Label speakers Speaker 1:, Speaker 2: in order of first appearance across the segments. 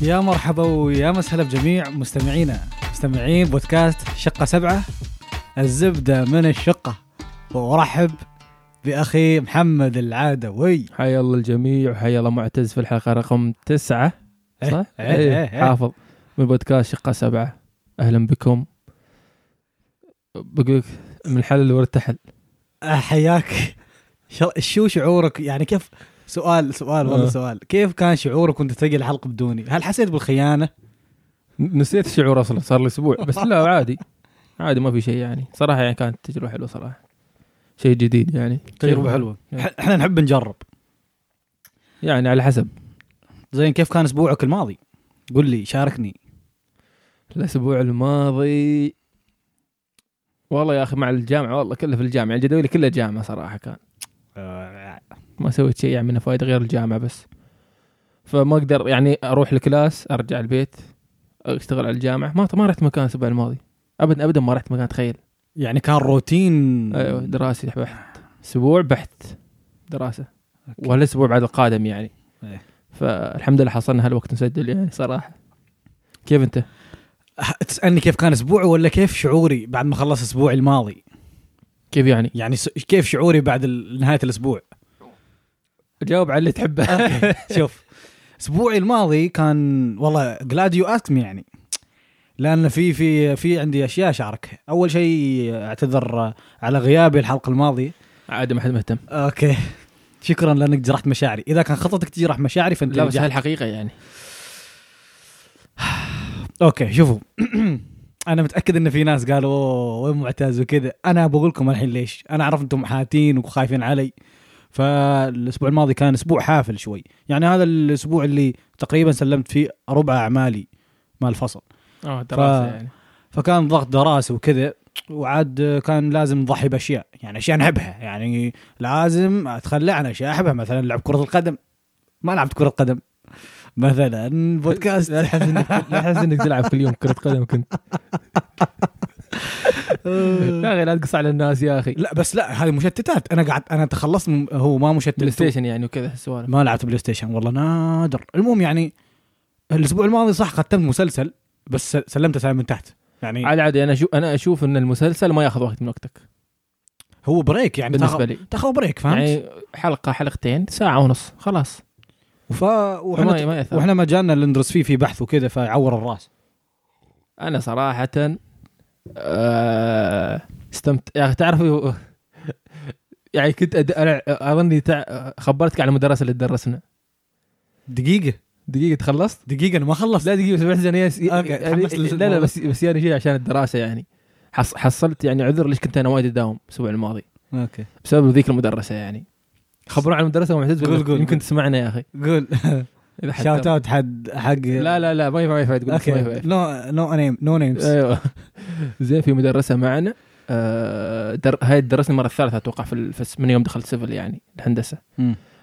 Speaker 1: يا مرحبا ويا مسهلا بجميع مستمعينا مستمعين بودكاست شقة سبعة الزبدة من الشقة وأرحب بأخي محمد العادوي
Speaker 2: حيا الله الجميع وحيا الله معتز في الحلقه رقم تسعه صح؟
Speaker 1: إيه، إيه، إيه، إيه.
Speaker 2: حافظ من بودكاست شقه سبعه اهلا بكم بقولك من الحلل وارتحل
Speaker 1: أحياك شر- شو شعورك يعني كيف سؤال سؤال والله
Speaker 2: آه.
Speaker 1: سؤال كيف كان شعورك وانت تلقى الحلقة بدوني هل حسيت بالخيانة
Speaker 2: ن- نسيت الشعور اصلا صار لي اسبوع بس لا عادي عادي ما في شيء يعني صراحه يعني كانت تجربه حلوه صراحه شيء جديد يعني
Speaker 1: تجربة حلوة إح- احنا نحب نجرب
Speaker 2: يعني على حسب
Speaker 1: زين كيف كان أسبوعك الماضي قل لي شاركني
Speaker 2: الاسبوع الماضي والله يا اخي مع الجامعه والله كله في الجامعه يعني جدولي كله جامعه صراحه كان
Speaker 1: آه،
Speaker 2: ما سويت شيء يعني منه فوائد غير الجامعه بس فما اقدر يعني اروح الكلاس ارجع البيت اشتغل على الجامعه ما ما رحت مكان الاسبوع الماضي ابدا ابدا ما رحت مكان تخيل
Speaker 1: يعني كان روتين
Speaker 2: ايوه دراسي بحت اسبوع بحت دراسه والاسبوع بعد القادم يعني
Speaker 1: إيه.
Speaker 2: فالحمد لله حصلنا هالوقت نسجل يعني صراحه كيف انت؟
Speaker 1: تسالني كيف كان اسبوعي ولا كيف شعوري بعد ما خلص اسبوعي الماضي
Speaker 2: كيف يعني؟
Speaker 1: يعني س- كيف شعوري بعد ال- نهايه الاسبوع
Speaker 2: جاوب على اللي تحبه
Speaker 1: شوف اسبوعي الماضي كان والله glad you asked me يعني لان في في في عندي اشياء اشاركها اول شيء اعتذر على غيابي الحلقه الماضيه
Speaker 2: عادي ما حد مهتم
Speaker 1: اوكي شكرا لانك جرحت مشاعري اذا كان خطتك تجرح مشاعري فانت
Speaker 2: لا بس
Speaker 1: جرحت.
Speaker 2: هالحقيقه يعني
Speaker 1: اوكي شوفوا انا متاكد ان في ناس قالوا "أوه، وين معتز وكذا انا بقول لكم الحين ليش انا اعرف انتم حاتين وخايفين علي فالاسبوع الماضي كان اسبوع حافل شوي يعني هذا الاسبوع اللي تقريبا سلمت فيه ربع اعمالي مال الفصل
Speaker 2: اه
Speaker 1: دراسة
Speaker 2: دراسه
Speaker 1: يعني.
Speaker 2: يعني
Speaker 1: فكان ضغط دراسي وكذا وعاد كان لازم نضحي باشياء يعني اشياء نحبها يعني لازم اتخلى عن اشياء احبها مثلا لعب كره القدم ما لعبت كره قدم مثلا بودكاست
Speaker 2: لا تحس انك لا تحس انك تلعب كل يوم كره قدم كنت يا اخي لا تقص على الناس يا اخي
Speaker 1: لا بس لا هذه مشتتات انا قاعد انا تخلصت من هو ما مشتت
Speaker 2: بلاي ستيشن يعني وكذا السوالف
Speaker 1: ما لعبت بلاي ستيشن والله نادر المهم يعني الاسبوع الماضي صح ختمت مسلسل بس سلمته سلام من تحت يعني
Speaker 2: على عادي انا اشوف انا اشوف ان المسلسل ما ياخذ وقت من وقتك
Speaker 1: هو بريك يعني
Speaker 2: بالنسبه
Speaker 1: تاخذ
Speaker 2: لي
Speaker 1: تاخذ بريك فهمت يعني
Speaker 2: يعني حلقه حلقتين ساعه ونص خلاص
Speaker 1: ف...
Speaker 2: ما,
Speaker 1: واحنا
Speaker 2: ما ياثر
Speaker 1: واحنا مجالنا اللي ندرس فيه في بحث وكذا فيعور الراس
Speaker 2: انا صراحه آه، استمت يا اخي تعرف يعني كنت أد... أنا اظني تع... خبرتك على المدرسه اللي تدرسنا
Speaker 1: دقيقة
Speaker 2: دقيقه تخلصت
Speaker 1: دقيقة انا ما خلصت
Speaker 2: لا دقيقة بس بحزن يس
Speaker 1: أوكي،
Speaker 2: يعني
Speaker 1: تحمست
Speaker 2: لا لا بس بس يعني شيء عشان الدراسة يعني حص حصلت يعني عذر ليش كنت انا وايد اداوم الاسبوع الماضي
Speaker 1: اوكي
Speaker 2: بسبب ذيك المدرسة يعني خبرونا عن المدرسة ومعتز
Speaker 1: قول- قول.
Speaker 2: يمكن تسمعنا يا اخي
Speaker 1: قول
Speaker 2: اذا حد
Speaker 1: شاوت اوت حد حق
Speaker 2: لا لا لا ما ينفع ما ينفع تقول ما
Speaker 1: اوكي
Speaker 2: ينفع.
Speaker 1: نو نو نيم نو نيمز
Speaker 2: ايوه زين في مدرسة معنا آه، در... هاي درسني المرة الثالثة اتوقع في, ال... في الس- من يوم دخلت سيفل يعني الهندسة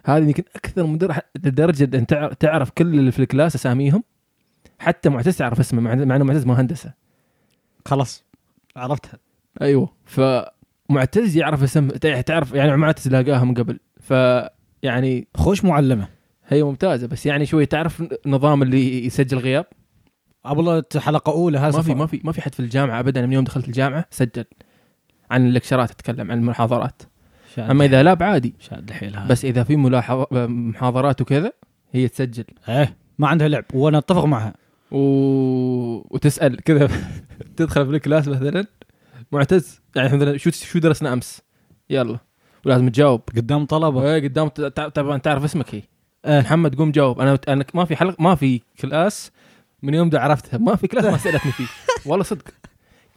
Speaker 2: هذه يمكن اكثر مدرسة لدرجة ان تع- تعرف كل اللي في الكلاس اساميهم حتى معتز تعرف اسمه مع مع انه معتز ما هندسة
Speaker 1: خلاص عرفتها أيوه.
Speaker 2: ايوه فمعتز يعرف اسم تع- تعرف يعني معتز لاقاها من قبل ف يعني
Speaker 1: خوش معلمة
Speaker 2: هي ممتازه بس يعني شوي تعرف نظام اللي يسجل غياب
Speaker 1: ابو الله حلقة اولى هذا
Speaker 2: ما في
Speaker 1: صفر.
Speaker 2: ما في ما في حد في الجامعه ابدا من يوم دخلت الجامعه سجل عن اللكشرات اتكلم عن المحاضرات
Speaker 1: شاد
Speaker 2: اما اذا لا عادي
Speaker 1: شاد الحيل هذا بس
Speaker 2: بس اذا في ملاحظه محاضرات وكذا هي تسجل
Speaker 1: ايه ما عندها لعب وانا اتفق معها
Speaker 2: و... وتسال كذا تدخل في الكلاس مثلا معتز يعني مثلا شو شو درسنا امس يلا ولازم تجاوب
Speaker 1: قدام طلبه
Speaker 2: ايه قدام ت- ت- طبعا تعرف اسمك هي
Speaker 1: إيه.
Speaker 2: محمد قوم جاوب انا انا ما في حلقه ما في كلاس من يوم ده عرفتها ما في كلاس ما سالتني فيه والله صدق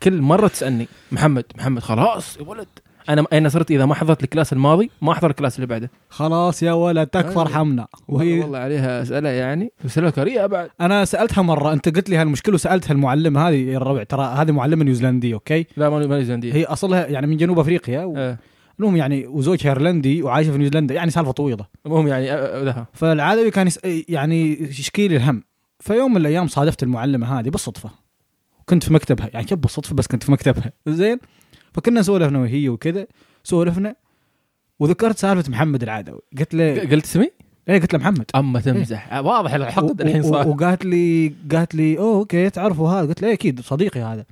Speaker 2: كل مره تسالني محمد محمد خلاص يا ولد انا انا صرت اذا ما حضرت الكلاس الماضي ما احضر الكلاس اللي بعده
Speaker 1: خلاص يا ولد تكفر
Speaker 2: أيوة.
Speaker 1: حمنا
Speaker 2: والله,
Speaker 1: وهي
Speaker 2: والله عليها اسئله يعني اسئله كريهه بعد
Speaker 1: انا سالتها مره انت قلت لي هالمشكله وسالتها المعلمه هذه يا الربع ترى هذه معلمه نيوزيلنديه اوكي
Speaker 2: لا ماني ماني زنديه
Speaker 1: هي اصلها يعني من جنوب افريقيا و-
Speaker 2: إيه.
Speaker 1: المهم يعني وزوجها ايرلندي وعايشه في نيوزيلندا يعني سالفه طويله
Speaker 2: المهم يعني أ- أ- لها
Speaker 1: فالعادوي كان يس... يعني يشكي لي الهم فيوم من الايام صادفت المعلمه هذه بالصدفه كنت في مكتبها يعني كيف بالصدفه بس كنت في مكتبها زين فكنا سولفنا وهي وكذا سولفنا وذكرت سالفه محمد العادوي قلت له
Speaker 2: ق- قلت اسمي؟
Speaker 1: لأني قلت له محمد
Speaker 2: اما تمزح آه، واضح الحقد
Speaker 1: و-
Speaker 2: الحين
Speaker 1: و-
Speaker 2: صار
Speaker 1: وقالت لي قالت لي اوه اوكي تعرفه هذا قلت لي اكيد صديقي هذا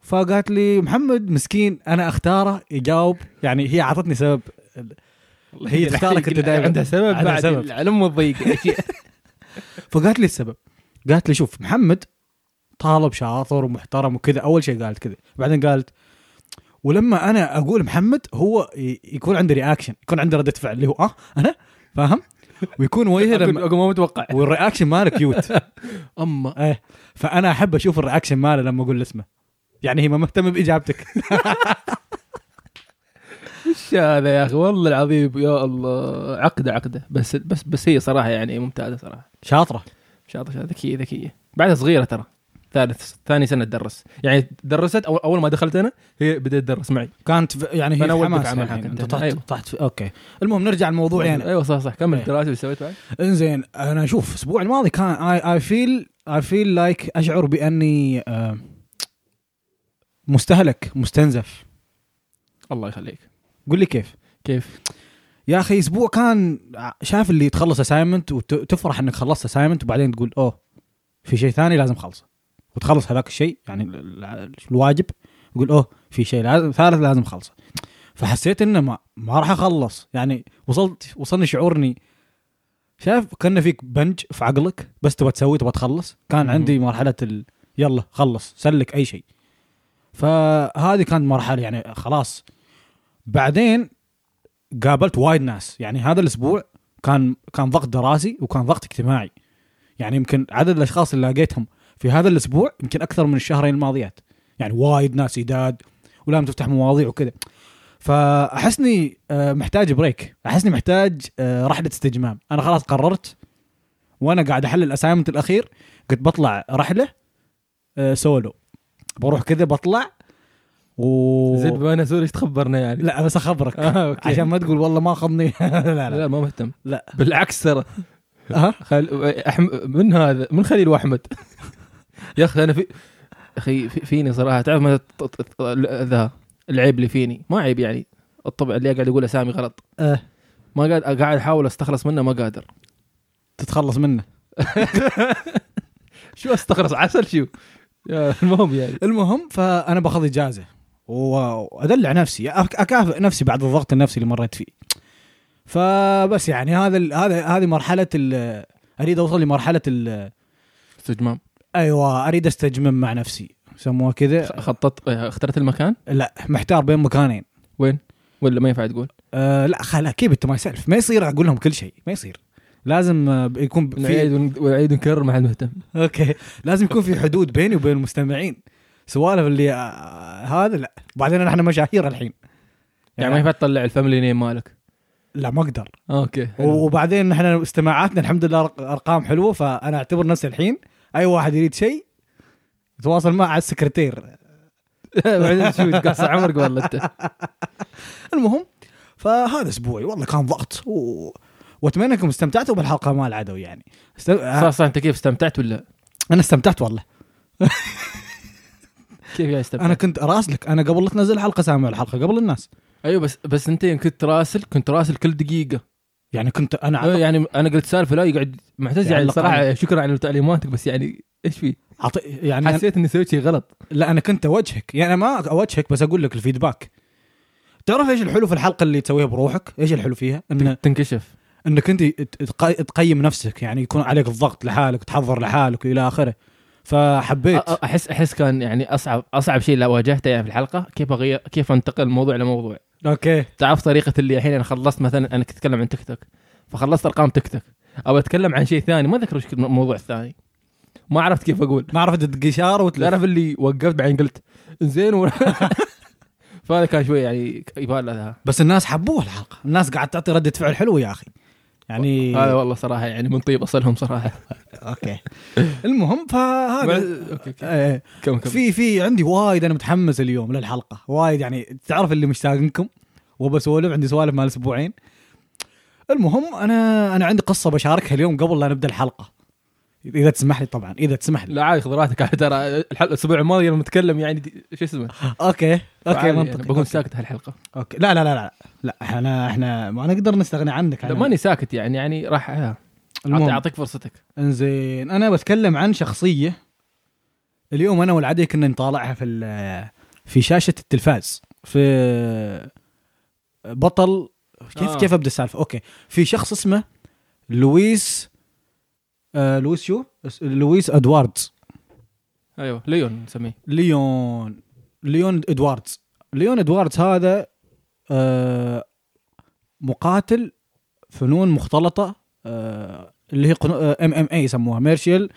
Speaker 1: فقالت لي محمد مسكين انا اختاره يجاوب يعني هي اعطتني سبب هي تختارك انت دائما
Speaker 2: عندها سبب
Speaker 1: عندها
Speaker 2: بعد
Speaker 1: سبب.
Speaker 2: العلم والضيق
Speaker 1: فقالت لي السبب قالت لي شوف محمد طالب شاطر ومحترم وكذا اول شيء قالت كذا بعدين قالت ولما انا اقول محمد هو ي- يكون عنده رياكشن يكون عنده رده فعل اللي هو اه انا فاهم ويكون وجهه
Speaker 2: أقول-
Speaker 1: لما
Speaker 2: أقول ما متوقع
Speaker 1: والرياكشن ماله كيوت
Speaker 2: اما
Speaker 1: ايه فانا احب اشوف الرياكشن ماله لما اقول له اسمه يعني هي ما مهتمه باجابتك
Speaker 2: وش هذا يا اخي والله العظيم يا الله عقده عقده بس بس بس هي صراحه يعني ممتازه صراحه
Speaker 1: شاطره
Speaker 2: شاطره شاطرة، ذكيه ذكيه بعدها صغيره ترى ثالث ثاني سنه تدرس يعني درست أول, اول ما دخلت انا هي بدات تدرس معي
Speaker 1: كانت ف- يعني هي
Speaker 2: فأنا
Speaker 1: في
Speaker 2: أول
Speaker 1: حماس
Speaker 2: دفعة معك
Speaker 1: الحين.
Speaker 2: أنت.
Speaker 1: انت تحت
Speaker 2: أيوة.
Speaker 1: تحت اوكي المهم نرجع الموضوع يعني
Speaker 2: ايوه صح صح كمل
Speaker 1: إيه.
Speaker 2: الدراسه وش سويت بعد؟
Speaker 1: انزين انا شوف الاسبوع الماضي كان اي فيل اي فيل لايك اشعر باني آه، مستهلك مستنزف
Speaker 2: الله يخليك
Speaker 1: قل لي كيف
Speaker 2: كيف؟
Speaker 1: يا اخي اسبوع كان ع- شايف اللي تخلص اسايمنت وتفرح انك خلصت اسايمنت وبعدين تقول اوه في شيء ثاني لازم اخلصه وتخلص هذاك الشيء يعني ال- ال- الواجب تقول اوه في شيء لازم ثالث لازم اخلصه فحسيت انه ما ما راح اخلص يعني وصلت وصلني شعور اني شايف كان فيك بنج في عقلك بس تبغى تسوي تبغى تخلص كان
Speaker 2: مم.
Speaker 1: عندي مرحله ال... يلا خلص سلك اي شيء فهذه كانت مرحله يعني خلاص بعدين قابلت وايد ناس يعني هذا الاسبوع كان كان ضغط دراسي وكان ضغط اجتماعي يعني يمكن عدد الاشخاص اللي لقيتهم في هذا الاسبوع يمكن اكثر من الشهرين الماضيات يعني وايد ناس يداد ولازم تفتح مواضيع وكذا فاحسني آه، محتاج بريك احسني محتاج آه، رحله استجمام انا خلاص قررت وانا قاعد احل الاسايمنت الاخير قلت بطلع رحله آه، سولو بروح كذا بطلع و
Speaker 2: زد بما سوري ايش تخبرنا يعني؟
Speaker 1: لا بس اخبرك
Speaker 2: آه، أوكي.
Speaker 1: عشان ما تقول والله ما اخذني لا لا
Speaker 2: لا ما مهتم
Speaker 1: لا.
Speaker 2: بالعكس ترى
Speaker 1: ها
Speaker 2: خل... أحم... من هذا من خليل واحمد يا اخي انا في يا اخي في... فيني صراحه تعرف متى ت- ت- ت- ذا العيب اللي فيني ما عيب يعني الطبع اللي قاعد اقول اسامي غلط
Speaker 1: آه.
Speaker 2: ما قاعد قاعد احاول استخلص منه ما قادر
Speaker 1: تتخلص منه
Speaker 2: شو استخلص عسل شو يا المهم يعني
Speaker 1: المهم فانا باخذ اجازه و- وادلع نفسي أك- اكافئ نفسي بعد الضغط النفسي اللي مريت فيه فبس يعني هذا ال- هذا هذه مرحله ال- اريد اوصل لمرحله ال-
Speaker 2: استجمام
Speaker 1: ايوه اريد استجمم مع نفسي يسموها كذا
Speaker 2: خططت آه، اخترت المكان
Speaker 1: لا محتار بين مكانين
Speaker 2: ولا ما ينفع تقول
Speaker 1: أه لا خلا كيب انت ما يسالف ما يصير اقول لهم كل شيء ما يصير لازم آه، يكون في
Speaker 2: نعيد ون- ونعيد ونكرر ما حد مهتم
Speaker 1: اوكي لازم يكون في حدود بيني وبين المستمعين سوالف اللي آه، هذا لا بعدين احنا مشاهير الحين
Speaker 2: يعني ما ينفع تطلع الفاميلي نيم مالك
Speaker 1: لا ما اقدر
Speaker 2: اوكي حلو.
Speaker 1: وبعدين احنا استماعاتنا الحمد لله أرق- ارقام حلوه فانا اعتبر نفسي الحين اي واحد يريد شيء يتواصل معه على السكرتير
Speaker 2: بعدين شو تقص عمرك والله انت
Speaker 1: المهم فهذا اسبوعي والله كان ضغط و... واتمنى انكم استمتعتوا بالحلقه مال العدو يعني است...
Speaker 2: صح صح انت كيف استمتعت ولا
Speaker 1: انا استمتعت والله
Speaker 2: كيف يعني استمتعت؟
Speaker 1: انا كنت اراسلك انا قبل لا تنزل الحلقه سامع الحلقه قبل الناس
Speaker 2: ايوه بس بس انت يوم كنت راسل كنت راسل كل دقيقه
Speaker 1: يعني كنت انا
Speaker 2: أيوة يعني انا قلت سالفه لا يقعد معتز يعني
Speaker 1: يعلق
Speaker 2: صراحه
Speaker 1: عليه.
Speaker 2: شكرا على تعليماتك بس يعني ايش في؟
Speaker 1: عط... يعني أنا...
Speaker 2: حسيت اني سويت شيء غلط
Speaker 1: لا انا كنت اوجهك يعني أنا ما اوجهك بس اقول لك الفيدباك تعرف ايش الحلو في الحلقه اللي تسويها بروحك ايش الحلو فيها انه
Speaker 2: تنكشف
Speaker 1: انك انت تق- تقيم نفسك يعني يكون عليك الضغط لحالك تحضر لحالك والى اخره فحبيت
Speaker 2: أ- أ- احس احس كان يعني اصعب اصعب شيء اللي واجهته يعني في الحلقه كيف اغير كيف انتقل من موضوع لموضوع
Speaker 1: اوكي
Speaker 2: تعرف طريقه اللي الحين انا خلصت مثلا انا كنت اتكلم عن تيك توك فخلصت ارقام تيك توك او اتكلم عن شيء ثاني ما اذكر وش كان الموضوع الثاني ما عرفت كيف اقول
Speaker 1: ما عرفت القشار وتلف
Speaker 2: تعرف اللي وقفت بعدين قلت زين و... فهذا كان شوي يعني يبان لها
Speaker 1: بس الناس حبوها الحلقه الناس قاعد تعطي رده فعل حلوه يا اخي يعني
Speaker 2: هذا والله صراحه يعني من طيب اصلهم صراحه
Speaker 1: اوكي المهم فهذا
Speaker 2: بعد- اوكي اوكي
Speaker 1: إيه.
Speaker 2: كم كم
Speaker 1: في في عندي وايد انا متحمس اليوم للحلقه وايد يعني تعرف اللي مشتاق لكم وبسولف عندي سوالف مال اسبوعين المهم انا انا عندي قصه بشاركها اليوم قبل لا نبدا الحلقه اذا تسمح لي طبعا اذا تسمح لي
Speaker 2: لا عادي خذ راحتك عاد ترى الحل- الاسبوع الماضي لما نتكلم يعني دي- شو اسمه
Speaker 1: اوكي اوكي
Speaker 2: فعادي،
Speaker 1: منطقي
Speaker 2: أنا بكون
Speaker 1: أوكي.
Speaker 2: ساكت هالحلقه
Speaker 1: اوكي لا لا لا لا لا احنا احنا ما نقدر نستغني عنك
Speaker 2: لا
Speaker 1: أنا.
Speaker 2: ماني ساكت يعني يعني راح آه، أعطي-
Speaker 1: المهم.
Speaker 2: اعطيك فرصتك
Speaker 1: انزين انا بتكلم عن شخصيه اليوم انا والعدي كنا نطالعها في ال- في شاشه التلفاز في بطل كيف
Speaker 2: آه.
Speaker 1: آه. كيف ابدا السالفه اوكي في شخص اسمه لويس آه لويس شو اس- لويس ادواردز
Speaker 2: ايوه ليون نسميه
Speaker 1: ليون ليون ادواردز ليون ادواردز هذا آه مقاتل فنون مختلطه آه اللي هي ام ام اي يسموها ميرشيل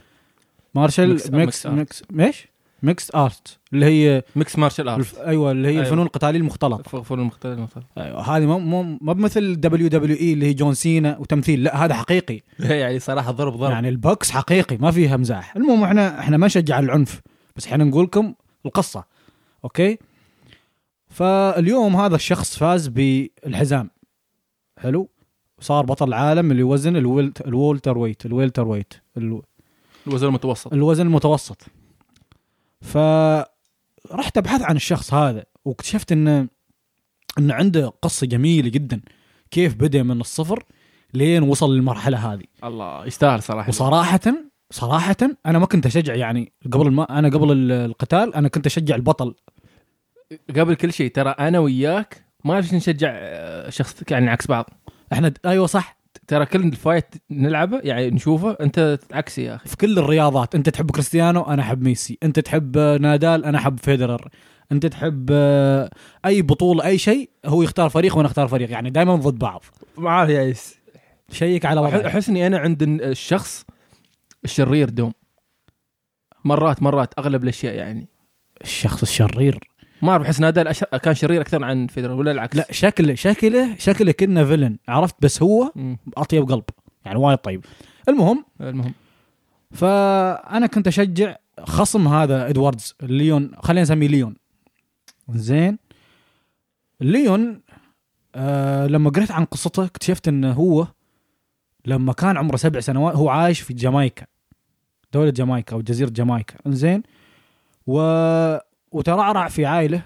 Speaker 1: مارشال
Speaker 2: Mixed-
Speaker 1: ميكس
Speaker 2: mixed art.
Speaker 1: ميكس ايش؟ ميكس ارت اللي هي
Speaker 2: ميكس مارشال
Speaker 1: الف...
Speaker 2: ارت
Speaker 1: ايوه اللي هي
Speaker 2: أيوة.
Speaker 1: أيوة. الفنون القتاليه المختلطه
Speaker 2: فول المختلف المختلف
Speaker 1: ايوه هذه مو مو ما بمثل دبليو دبليو اي اللي هي جون سينا وتمثيل لا هذا حقيقي
Speaker 2: يعني صراحه ضرب ضرب
Speaker 1: يعني البوكس حقيقي ما فيها مزاح المهم احنا احنا ما نشجع العنف بس احنا نقول لكم القصه اوكي فاليوم هذا الشخص فاز بالحزام حلو صار بطل العالم اللي يوزن الولت الولتر ويت الولتر ويت الو-
Speaker 2: الوزن المتوسط
Speaker 1: الوزن المتوسط فرحت ابحث عن الشخص هذا واكتشفت انه انه عنده قصه جميله جدا كيف بدا من الصفر لين وصل للمرحله هذه
Speaker 2: الله يستاهل صراحه
Speaker 1: وصراحة صراحة انا ما كنت اشجع يعني قبل الم... انا قبل ال- القتال انا كنت اشجع البطل
Speaker 2: قبل كل شيء ترى انا وياك ما ليش نشجع آه، شخص يعني عكس بعض
Speaker 1: احنا ايوه صح
Speaker 2: ترى كل الفايت نلعبه يعني نشوفه انت عكسي يا اخي
Speaker 1: في كل الرياضات انت تحب كريستيانو انا احب ميسي انت تحب آه، نادال انا احب فيدرر انت تحب آه، اي بطولة اي شيء هو يختار فريق وانا اختار فريق يعني دائما ضد بعض
Speaker 2: ما اعرف يعني
Speaker 1: شيك على وضعك
Speaker 2: احس اني انا عند الشخص الشرير دوم مرات مرات اغلب الاشياء يعني
Speaker 1: الشخص الشرير
Speaker 2: ما اعرف احس نادال أش... كان شرير اكثر عن فيدرر ولا العكس
Speaker 1: لا شكله شكله شكله كنا فيلن عرفت بس هو
Speaker 2: مم.
Speaker 1: اطيب قلب يعني وايد طيب المهم
Speaker 2: المهم
Speaker 1: فانا كنت اشجع خصم هذا ادواردز ليون خلينا نسميه ليون زين ليون آه لما قريت عن قصته اكتشفت انه هو لما كان عمره سبع سنوات هو عايش في جامايكا دولة جامايكا او جزيرة جامايكا زين و... وترعرع في عائلة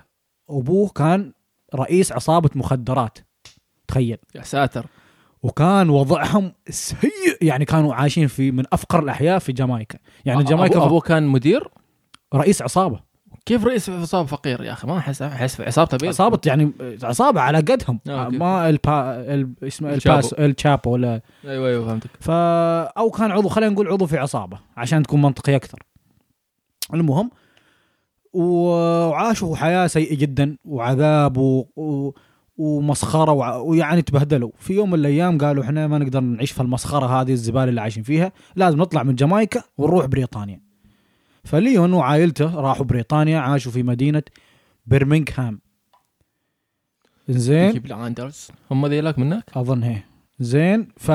Speaker 1: ابوه كان رئيس عصابة مخدرات تخيل
Speaker 2: يا ساتر
Speaker 1: وكان وضعهم سيء يعني كانوا عايشين في من افقر الاحياء في جامايكا يعني
Speaker 2: أ-
Speaker 1: جامايكا
Speaker 2: أبوه, ابوه كان مدير
Speaker 1: رئيس عصابه
Speaker 2: كيف رئيس عصابه فقير يا اخي ما احس احس عصابته بيض
Speaker 1: عصابه يعني عصابه على قدهم
Speaker 2: آه، أوكي.
Speaker 1: ما البا ال... اسمه
Speaker 2: الشابو.
Speaker 1: الباس الشابو ولا
Speaker 2: ايوه ايوه فهمتك
Speaker 1: فا او كان عضو خلينا نقول عضو في عصابه عشان تكون منطقي اكثر المهم و- وعاشوا حياه سيئه جدا وعذاب و... و... ومسخره وع... ويعني تبهدلوا في يوم من الايام قالوا احنا ما نقدر نعيش في المسخره هذه الزباله اللي عايشين فيها لازم نطلع من جامايكا ونروح بريطانيا فليون وعائلته راحوا بريطانيا عاشوا في مدينه برمنغهام زين
Speaker 2: يجيب اندرز هم ذيلاك منك
Speaker 1: اظن هي زين ف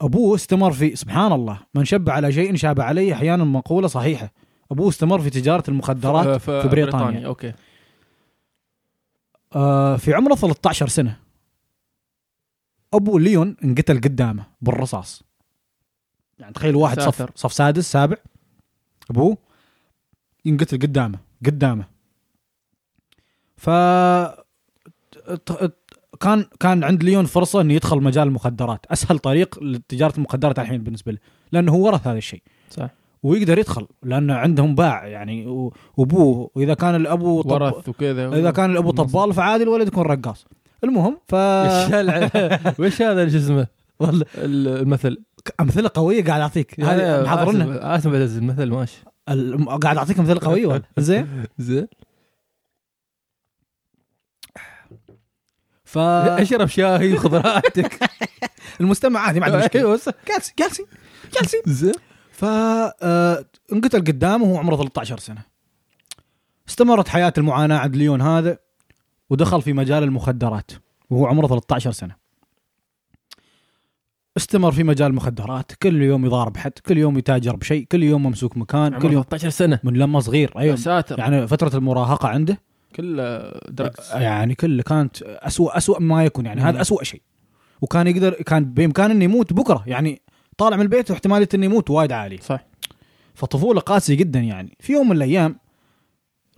Speaker 1: ابوه استمر في سبحان الله من شب على شيء شاب عليه احيانا مقوله صحيحه ابوه استمر في تجاره المخدرات
Speaker 2: في,
Speaker 1: بريطانيا.
Speaker 2: اوكي
Speaker 1: آه في عمره 13 سنه ابو ليون انقتل قدامه بالرصاص يعني تخيل واحد صف
Speaker 2: ساتر.
Speaker 1: صف سادس سابع ابوه ينقتل قدامه قدامه ف ت- ت- كان كان عند ليون فرصه انه يدخل مجال المخدرات اسهل طريق لتجاره المخدرات الحين بالنسبه له لانه هو ورث هذا الشيء
Speaker 2: صح
Speaker 1: ويقدر يدخل لانه عندهم باع يعني و- وابوه واذا كان الابو طب-
Speaker 2: ورث وكذا
Speaker 1: اذا كان الابو
Speaker 2: بالنسبة.
Speaker 1: طبال فعادي الولد يكون رقاص المهم ف
Speaker 2: وش هذا شو اسمه
Speaker 1: والله
Speaker 2: ال- المثل
Speaker 1: امثله قويه قاعد اعطيك هذه محضرنا
Speaker 2: اسف بس المثل ماشي
Speaker 1: الم- قاعد اعطيك امثله قويه والله. زين
Speaker 2: زين
Speaker 1: ف
Speaker 2: اشرب شاي وخذ راحتك
Speaker 1: المستمع عادي ما عنده مشكله
Speaker 2: أيوة، صح.
Speaker 1: جالسين جالسين جالسين
Speaker 2: زين
Speaker 1: ف آه، انقتل قدامه وهو عمره 13 سنه استمرت حياه المعاناه عند ليون هذا ودخل في مجال المخدرات وهو عمره 13 سنه استمر في مجال المخدرات كل يوم يضارب حد كل يوم يتاجر بشيء كل يوم ممسوك مكان
Speaker 2: عمره
Speaker 1: كل يوم
Speaker 2: 13 سنه
Speaker 1: من لما صغير
Speaker 2: يا
Speaker 1: ايوه
Speaker 2: ساتر
Speaker 1: يعني فتره المراهقه عنده
Speaker 2: أيوة. كل درجز
Speaker 1: يعني كله كانت اسوء اسوء ما يكون يعني
Speaker 2: مم.
Speaker 1: هذا اسوء شيء وكان يقدر كان بامكانه انه يموت بكره يعني طالع من البيت واحتماليه انه يموت وايد عالي
Speaker 2: صح
Speaker 1: فطفوله قاسيه جدا يعني في يوم من الايام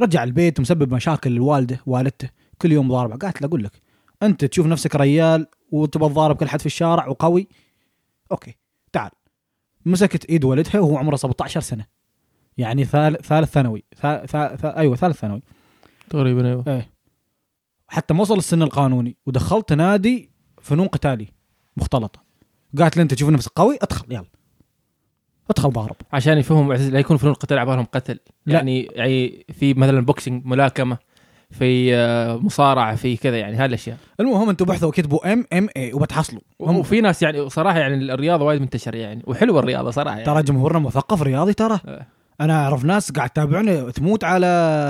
Speaker 1: رجع البيت ومسبب مشاكل لوالده والدته كل يوم ضاربه قالت له اقول لك انت تشوف نفسك ريال وتبى تضارب كل حد في الشارع وقوي اوكي تعال مسكت ايد والدها وهو عمره 17 سنه يعني ثالث ثالث ثانوي ثا ثا ثا ايوه ثالث ثانوي إيه.
Speaker 2: تقريبا ايوه
Speaker 1: حتى ما وصل السن القانوني ودخلت نادي فنون قتالي مختلطه قالت لي انت تشوف نفسك قوي ادخل يلا ادخل ضارب
Speaker 2: عشان يفهموا لا يكون فنون القتال على بالهم قتل
Speaker 1: لا.
Speaker 2: يعني يعني في مثلا بوكسينج ملاكمه في آه، مصارعه في كذا يعني هالاشياء
Speaker 1: المهم انتم بحثوا وكتبوا ام ام اي وبتحصلوا هم
Speaker 2: وفي ناس يعني صراحه يعني الرياضه وايد منتشره يعني وحلوه الرياضه صراحه يعني.
Speaker 1: ترى جمهورنا مثقف رياضي ترى
Speaker 2: إيه.
Speaker 1: انا اعرف ناس قاعد تتابعني تموت على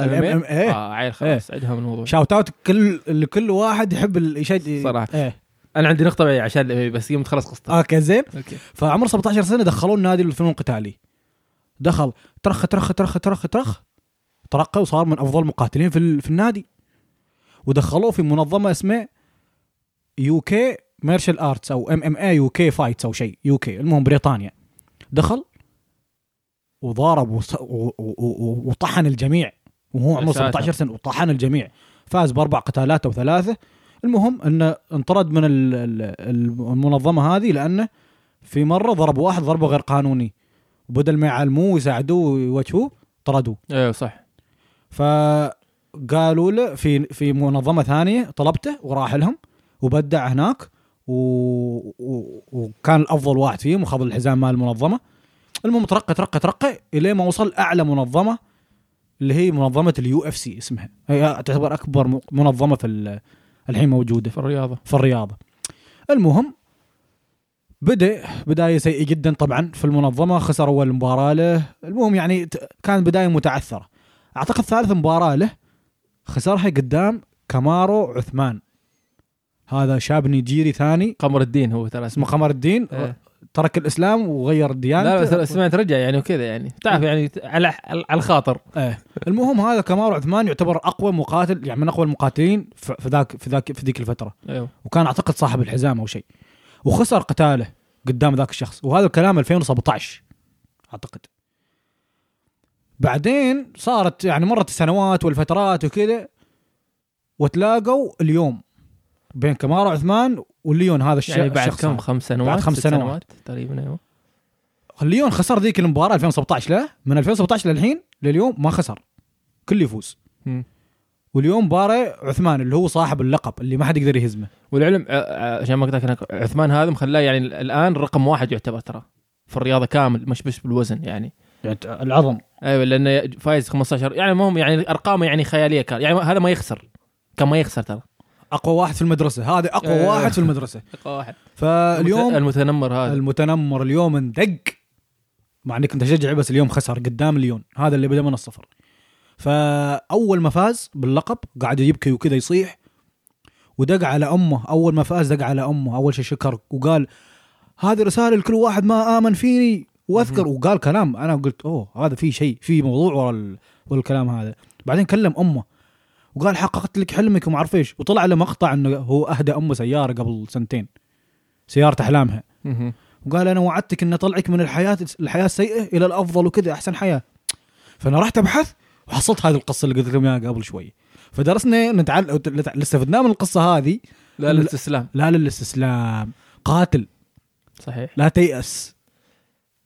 Speaker 1: الام ام اي
Speaker 2: اه عيل خلاص عندهم الموضوع
Speaker 1: شاوت اوت كل لكل واحد يحب الشيء
Speaker 2: صراحة.
Speaker 1: ايه
Speaker 2: انا عندي نقطه بعيد عشان بس يوم تخلص قصتك
Speaker 1: اوكي زين
Speaker 2: اوكي
Speaker 1: فعمره 17 سنه دخلوه النادي للفنون القتالي دخل ترخ ترخ ترخ ترخ ترخ ترقى وصار من افضل المقاتلين في ال- في النادي ودخلوه في منظمه اسمها يو كي مارشال ارتس او ام ام اي يو كي فايتس او شيء يو كي المهم بريطانيا دخل وضارب وص- و- و- و- وطحن الجميع وهو عمره
Speaker 2: يا ساتر.
Speaker 1: 17 سنه وطحن الجميع فاز باربع قتالات او ثلاثه المهم انه انطرد من ال- ال- المنظمه هذه لانه في مره ضرب واحد ضربه غير قانوني وبدل ما يعلموه ويساعدوه ويوجهوه طردوه
Speaker 2: ايوه صح
Speaker 1: فقالوا له في في منظمه ثانيه طلبته وراح لهم وبدع هناك و... و... وكان الافضل واحد فيهم وخذ الحزام مال المنظمه المهم ترقى ترقى ترقى الين ما وصل اعلى منظمه اللي هي منظمه اليو اف سي اسمها هي تعتبر اكبر م- منظمه في ال- الحين موجوده
Speaker 2: في الرياضه
Speaker 1: في الرياضه. المهم بدا بدايه سيئه جدا طبعا في المنظمه خسر اول مباراه له، المهم يعني ت- كان بدايه متعثره. اعتقد ثالث مباراه له خسرها قدام كامارو عثمان. هذا شاب نيجيري ثاني
Speaker 2: قمر الدين هو ترى
Speaker 1: اسمه قمر الدين
Speaker 2: إيه.
Speaker 1: ترك الاسلام وغير الديانه
Speaker 2: لا بس سمعت رجع يعني وكذا يعني تعرف يعني على على الخاطر
Speaker 1: ايه المهم هذا كامارو عثمان يعتبر اقوى مقاتل يعني من اقوى المقاتلين في في ذاك في ذاك في ذيك الفتره.
Speaker 2: ايوه
Speaker 1: وكان اعتقد صاحب الحزام او شيء وخسر قتاله قدام ذاك الشخص وهذا الكلام 2017 اعتقد بعدين صارت يعني مرت السنوات والفترات وكذا وتلاقوا اليوم بين كمارو عثمان والليون هذا الش-
Speaker 2: يعني بعد
Speaker 1: الشخص
Speaker 2: كم
Speaker 1: هذا.
Speaker 2: خمس سنوات
Speaker 1: بعد خمس
Speaker 2: ست
Speaker 1: سنوات.
Speaker 2: تقريبا ايوه
Speaker 1: الليون خسر ذيك المباراه 2017 له من 2017 للحين لليوم ما خسر كل يفوز
Speaker 2: مم.
Speaker 1: واليوم مباراه عثمان اللي هو صاحب اللقب اللي ما حد يقدر يهزمه
Speaker 2: والعلم آه، آه، عشان ما اقطعك هناك، عثمان هذا مخلاه يعني ال- الان رقم واحد يعتبر ترى في الرياضه كامل مش بس بالوزن يعني
Speaker 1: يعني العظم
Speaker 2: ايوه لانه فايز 15 يعني المهم يعني ارقامه يعني خياليه كان يعني هذا ما يخسر كان ما يخسر ترى
Speaker 1: اقوى واحد في المدرسه هذا اقوى
Speaker 2: إيه.
Speaker 1: واحد في المدرسه
Speaker 2: واحد
Speaker 1: فاليوم
Speaker 2: المتنمر هذا
Speaker 1: المتنمر اليوم اندق مع اني كنت اشجعه بس اليوم خسر قدام ليون هذا اللي بدا من الصفر فاول ما فاز باللقب قاعد يبكي وكذا يصيح ودق على امه اول ما فاز دق على امه اول شيء شكر وقال هذه رساله لكل واحد ما امن فيني واذكر وقال كلام انا قلت اوه هذا في شيء في موضوع ورا ال- ورا الكلام هذا بعدين كلم امه وقال حققت لك حلمك وما اعرف ايش وطلع له مقطع انه هو اهدى امه سياره قبل سنتين سياره احلامها
Speaker 2: مهم.
Speaker 1: وقال انا وعدتك ان اطلعك من الحياه الحياه السيئه الى الافضل وكذا احسن حياه فانا رحت ابحث وحصلت هذه القصه اللي قلت لكم اياها قبل شوي فدرسنا نتعلم أو تل- اللي استفدناه من القصه هذه
Speaker 2: لا الاستسلام
Speaker 1: لا للاستسلام قاتل
Speaker 2: صحيح
Speaker 1: لا تيأس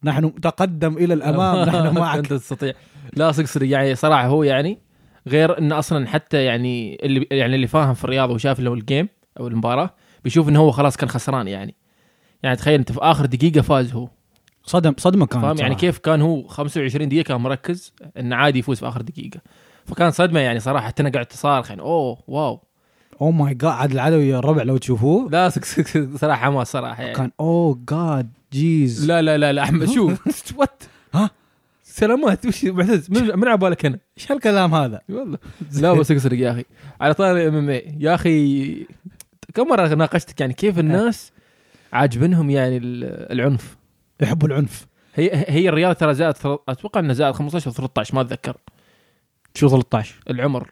Speaker 1: نحن تقدم الى الامام نحن معك
Speaker 2: انت تستطيع لا صدق صدق يعني صراحه هو يعني غير انه اصلا حتى يعني اللي يعني اللي فاهم في الرياضه وشاف له الجيم او المباراه بيشوف انه هو خلاص كان خسران يعني يعني تخيل انت في اخر دقيقه فاز هو
Speaker 1: صدم صدمه كانت
Speaker 2: فاهم يعني
Speaker 1: آه، صراحة.
Speaker 2: كيف كان هو 25 دقيقه كان مركز انه عادي يفوز في اخر دقيقه فكان صدمه يعني صراحه حتى انا قعدت صارخ يعني اوه واو
Speaker 1: اوه ماي جاد Oh عاد العدوي الربع لو تشوفوه
Speaker 2: لا صدق- صدق صدق صراحه حماس صراحه يعني
Speaker 1: كان oh اوه جاد جيز
Speaker 2: لا لا لا لا احمد شوف وات
Speaker 1: ها؟
Speaker 2: سلامات وش معتز من من على بالك انا
Speaker 1: ايش هالكلام هذا
Speaker 2: والله لا بس اقصد يا اخي على طاري ام ام إيه، يا اخي كم مره ناقشتك يعني كيف الناس عاجبنهم يعني ال- العنف
Speaker 1: يحب العنف
Speaker 2: هي هي الرياضه ترى زائد ثل- اتوقع انها زائد 15 و 13 ما اتذكر
Speaker 1: شو 13
Speaker 2: العمر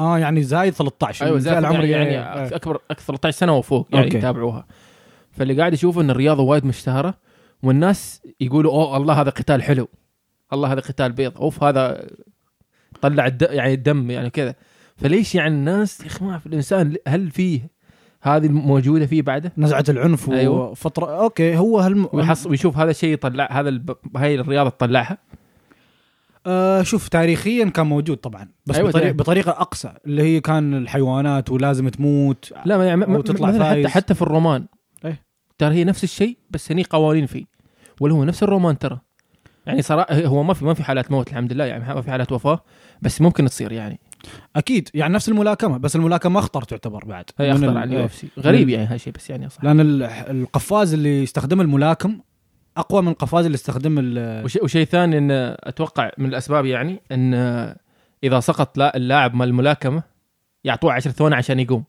Speaker 1: اه يعني زايد 13
Speaker 2: ايوه زائد
Speaker 1: العمر
Speaker 2: العمر يعني,
Speaker 1: إيه.
Speaker 2: يعني اكبر اكثر 13 سنه وفوق يعني
Speaker 1: أوكي.
Speaker 2: يتابعوها فاللي قاعد يشوف ان الرياضه وايد مشتهره والناس يقولوا اوه الله هذا قتال حلو الله هذا قتال بيض اوف هذا طلع الد... يعني الدم يعني كذا فليش يعني الناس يا اخي ما في الانسان هل فيه هذه موجوده فيه بعده؟
Speaker 1: نزعه العنف
Speaker 2: أيوة.
Speaker 1: وفتره اوكي هو هالم...
Speaker 2: ويحص... ويشوف هذا الشيء يطلع هذا الب... هاي الرياضه تطلعها
Speaker 1: آه شوف تاريخيا كان موجود طبعا بس
Speaker 2: أيوة،
Speaker 1: أيوة بطريقة,
Speaker 2: تاريخ.
Speaker 1: بطريقه اقصى اللي هي كان الحيوانات ولازم تموت
Speaker 2: لا ما يعني ما- ما-
Speaker 1: وتطلع
Speaker 2: مثلا
Speaker 1: فايز.
Speaker 2: حتى حتى في الرومان
Speaker 1: إيه.
Speaker 2: ترى هي نفس الشيء بس هني قوانين فيه ولا هو نفس الرومان ترى يعني صراحه هو ما في ما في حالات موت الحمد لله يعني ما في حالات وفاه بس ممكن تصير يعني
Speaker 1: اكيد يعني نفس الملاكمه بس الملاكمه اخطر تعتبر بعد
Speaker 2: هي
Speaker 1: من
Speaker 2: اخطر
Speaker 1: ال-
Speaker 2: على
Speaker 1: إيه.
Speaker 2: اليو اف سي غريب يعني هالشيء بس يعني صح
Speaker 1: لان ال- القفاز اللي يستخدمه الملاكم اقوى من القفاز اللي يستخدمه ال-
Speaker 2: وشيء وشي ثاني ان اتوقع من الاسباب يعني ان اذا سقط لا اللاعب مال الملاكمه يعطوه 10 ثواني عشان يقوم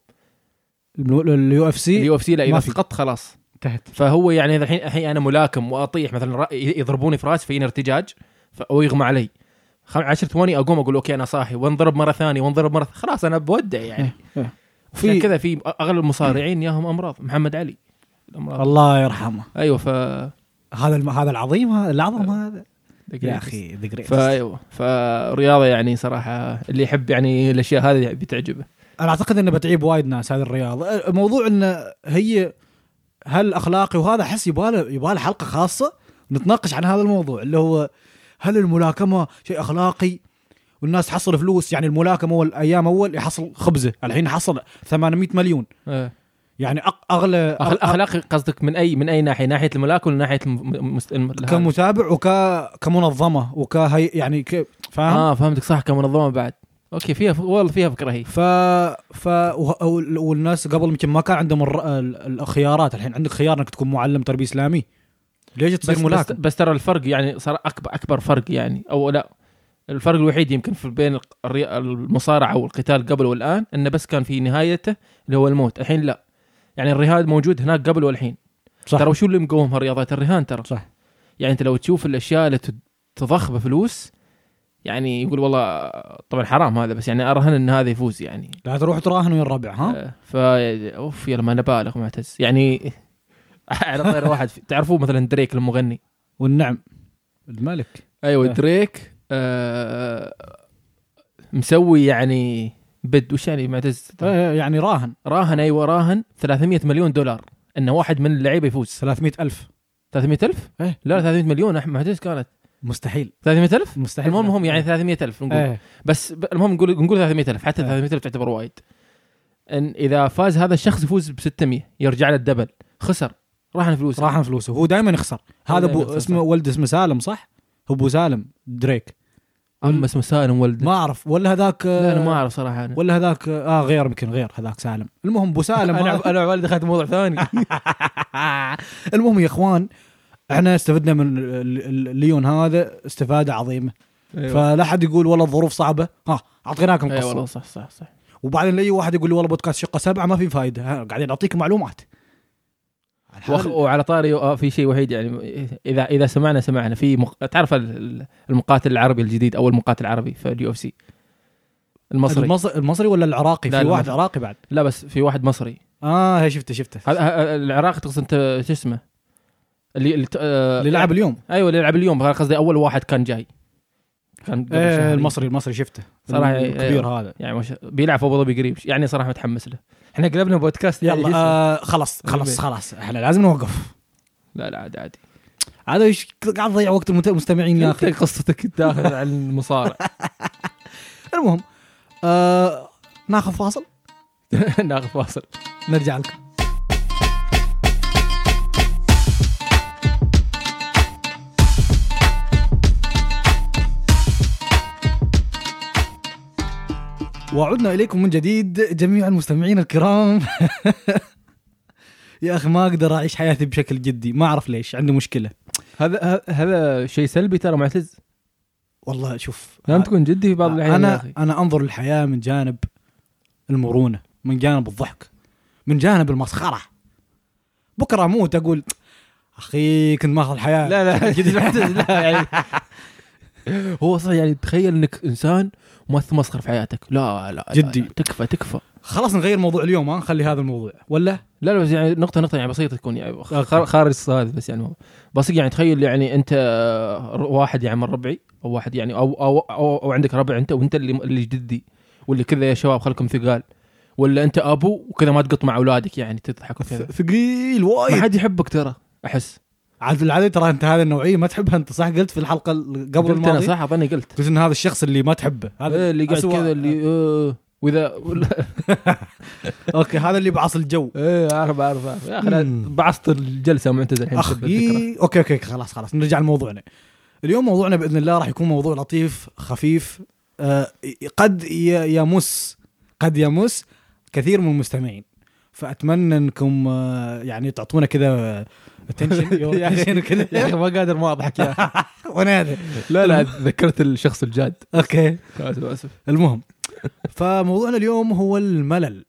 Speaker 1: الم- اليو اف سي
Speaker 2: اليو اف سي لا اذا
Speaker 1: إيه، ما في.
Speaker 2: سقطت خلاص
Speaker 1: انتهت
Speaker 2: فهو يعني اذا الحين الحين انا ملاكم واطيح مثلا رأ- يضربوني في راسي فيني ارتجاج ف- او يغمى علي خم- عشر ثواني اقوم اقول اوكي انا صاحي وانضرب مره ثانيه وانضرب مره ث- خلاص انا بودع يعني في
Speaker 1: إيه، في
Speaker 2: كذا في اغلب المصارعين ياهم امراض محمد علي الامراض
Speaker 1: الله يرحمه
Speaker 2: ايوه ف
Speaker 1: هذا الم... هذا العظيم هذا العظم
Speaker 2: أيوه.
Speaker 1: هذا يا اخي ذا جريتست
Speaker 2: فايوه فالرياضه أيوة. يعني صراحه اللي يحب يعني الاشياء هذه بتعجبه
Speaker 1: انا اعتقد انه بتعيب وايد ناس هذه الرياضه موضوع انه هي هل اخلاقي وهذا احس يباله يباله حلقه خاصه نتناقش عن هذا الموضوع اللي هو هل الملاكمه شيء اخلاقي والناس تحصل فلوس يعني الملاكم اول ايام اول يحصل خبزه الحين حصل 800 مليون
Speaker 2: إيه.
Speaker 1: يعني أق- اغلى
Speaker 2: أخل- اخلاقي قصدك من اي من اي ناحيه ناحيه الملاكمه ولا ناحيه الم... الم... الم...
Speaker 1: كمتابع وك كمنظمه وكهي يعني ك... فاهم؟
Speaker 2: اه فهمتك صح كمنظمه بعد اوكي فيها والله فيها فكره هي
Speaker 1: ف ف و- وال- والناس قبل يمكن ما كان عندهم الر- ال- الخيارات الحين عندك خيار انك تكون معلم تربيه اسلامي ليش تصير
Speaker 2: بس, بس,
Speaker 1: ملاكم
Speaker 2: بس ترى الفرق يعني صار اكبر اكبر فرق يعني او لا الفرق الوحيد يمكن في بين الق- الري- المصارعه او القتال قبل والان انه بس كان في نهايته اللي هو الموت الحين لا يعني الرهان موجود هناك قبل والحين
Speaker 1: صح
Speaker 2: ترى وشو اللي مقوم هالرياضات الرهان ترى
Speaker 1: صح.
Speaker 2: يعني انت لو تشوف الاشياء اللي تد- تضخ بفلوس يعني يقول والله طبعا حرام هذا بس يعني ارهن ان هذا يفوز يعني
Speaker 1: لا تروح تراهن ويا الربع ها
Speaker 2: آه، ف اوف يلا ما انا بالغ معتز يعني على غير واحد في- تعرفوه مثلا دريك المغني
Speaker 1: والنعم الملك
Speaker 2: ايوه
Speaker 1: آه.
Speaker 2: دريك آه مسوي يعني بد وش يعني معتز
Speaker 1: إيه، يعني راهن
Speaker 2: راهن ايوه راهن 300 مليون دولار انه واحد من اللعيبه يفوز
Speaker 1: 300 ألف
Speaker 2: 300 الف؟
Speaker 1: إيه.
Speaker 2: لا 300 مليون أح- معتز كانت
Speaker 1: مستحيل
Speaker 2: 300 الف؟
Speaker 1: مستحيل
Speaker 2: المهم هم يعني 300 الف نقول
Speaker 1: ايه
Speaker 2: بس ب- المهم نقول نقول 300 الف حتى
Speaker 1: إيه.
Speaker 2: 300 الف تعتبر وايد ان اذا فاز هذا الشخص يفوز ب 600 يرجع له الدبل خسر راهن فلوسه
Speaker 1: راهن فلوسه هو دائما يخسر هذا
Speaker 2: دايماً
Speaker 1: ابو
Speaker 2: يخسر،
Speaker 1: اسمه ولد اسمه سالم صح؟ هو ابو سالم دريك
Speaker 2: اما اسمه سالم ولد
Speaker 1: ما اعرف ولا هذاك
Speaker 2: لا انا ما اعرف صراحه انا
Speaker 1: ولا هذاك اه غير يمكن غير هذاك سالم المهم ابو سالم هذا-
Speaker 2: انا عبالي دخلت موضوع ثاني
Speaker 1: المهم يا اخوان احنا استفدنا من ال- ال- الليون هذا استفاده عظيمه فلا حد يقول والله الظروف صعبه ها اعطيناكم
Speaker 2: اي أيوة. والله
Speaker 1: قصه
Speaker 2: صح صح صح
Speaker 1: وبعدين اي واحد يقول لي والله بودكاست شقه سبعه ما في فائده ها، قاعدين اعطيك معلومات
Speaker 2: وخ... وعلى طاري آه، في شيء وحيد يعني اذا اذا سمعنا سمعنا في مق... تعرف ال- ال- المقاتل العربي الجديد اول مقاتل عربي في اليو اف سي المصري الم...
Speaker 1: المصري المصري ولا العراقي
Speaker 2: لا،
Speaker 1: في
Speaker 2: لا،
Speaker 1: واحد
Speaker 2: مصري.
Speaker 1: عراقي بعد
Speaker 2: لا بس في واحد مصري
Speaker 1: اه هي شفته شفته
Speaker 2: هذا ه- العراقي تقصد انت شو اسمه اللي اللي, ت- آه...
Speaker 1: اللي لعب اليوم
Speaker 2: ايوه اللي لعب اليوم هذا قصدي اول واحد كان جاي كان قبل
Speaker 1: ايه
Speaker 2: شهرين.
Speaker 1: المصري المصري شفته
Speaker 2: صراحة، إيه،
Speaker 1: الكبير هذا
Speaker 2: يعني مش... بيلعب في ابو ظبي قريب يعني صراحه متحمس له احنا قلبنا بودكاست
Speaker 1: يلا
Speaker 2: يلا
Speaker 1: آه خلاص خلاص
Speaker 2: البيت.
Speaker 1: خلاص احنا لازم نوقف
Speaker 2: لا لا عادي عادي
Speaker 1: هذا ايش قاعد تضيع وقت المت- المستمعين يا
Speaker 2: انت
Speaker 1: اخي
Speaker 2: قصتك داخل عن المصارع
Speaker 1: المهم آه ناخذ فاصل
Speaker 2: ناخذ فاصل
Speaker 1: نرجع لكم وعدنا اليكم من جديد جميع المستمعين الكرام يا اخي ما اقدر اعيش حياتي بشكل جدي ما اعرف ليش عندي مشكله
Speaker 2: هذا ه- هذا شيء سلبي ترى معتز
Speaker 1: والله شوف
Speaker 2: لازم تكون جدي في بعض الاحيان يا
Speaker 1: انا
Speaker 2: أخي.
Speaker 1: انا انظر للحياه من جانب المرونه من جانب الضحك من جانب المسخره بكره اموت اقول اخي كنت ماخذ الحياه
Speaker 2: لا لا جدي معتز لا يعني هو صح يعني تخيل انك انسان ما تمسخر في حياتك لا لا لا،
Speaker 1: جدي.
Speaker 2: لا تكفى تكفى
Speaker 1: خلاص نغير موضوع اليوم ها نخلي هذا الموضوع ولا
Speaker 2: لا لا بس يعني نقطة نقطة يعني بسيطة تكون يعني خ- خار- خارج الصادف بس يعني بس يعني تخيل يعني أنت آه، واحد يعني من ربعي أو واحد يعني أو أو أو, أو عندك ربع أنت وأنت اللي اللي جدي واللي كذا يا شباب خلكم ثقال ولا أنت أبو وكذا ما تقط مع أولادك يعني تضحك وكذا
Speaker 1: ثقيل
Speaker 2: ما
Speaker 1: وايد
Speaker 2: حد يحبك ترى أحس
Speaker 1: عاد العادي ترى انت هذه النوعيه ما تحبها انت صح قلت في الحلقه ال- قبل
Speaker 2: قلت أنا
Speaker 1: الماضيه
Speaker 2: صح أظني قلت
Speaker 1: قلت ان هذا الشخص اللي ما تحبه هذا
Speaker 2: إيه، اللي قاعد
Speaker 1: أسوأ-
Speaker 2: كذا اللي آه، وإذا
Speaker 1: اوكي هذا اللي بعص الجو
Speaker 2: ايه اعرف اعرف اعرف يا اخي
Speaker 1: مم.
Speaker 2: أنا بعصت الجلسه معتزل الحين
Speaker 1: اخ
Speaker 2: بسبب الفكرة.
Speaker 1: إي، اوكي اوكي خلاص خلاص نرجع لموضوعنا اليوم موضوعنا باذن الله راح يكون موضوع لطيف خفيف آه قد ي- يمس قد يمس كثير من المستمعين فاتمنى انكم آه يعني تعطونا كذا
Speaker 2: يا
Speaker 1: اتنشن
Speaker 2: أخي- يا
Speaker 1: كذا
Speaker 2: اخي ما قادر ما اضحك يا اخي
Speaker 1: وانا هذا
Speaker 2: لا لا ذكرت الشخص الجاد
Speaker 1: اوكي
Speaker 2: اسف اسف
Speaker 1: المهم فموضوعنا اليوم هو الملل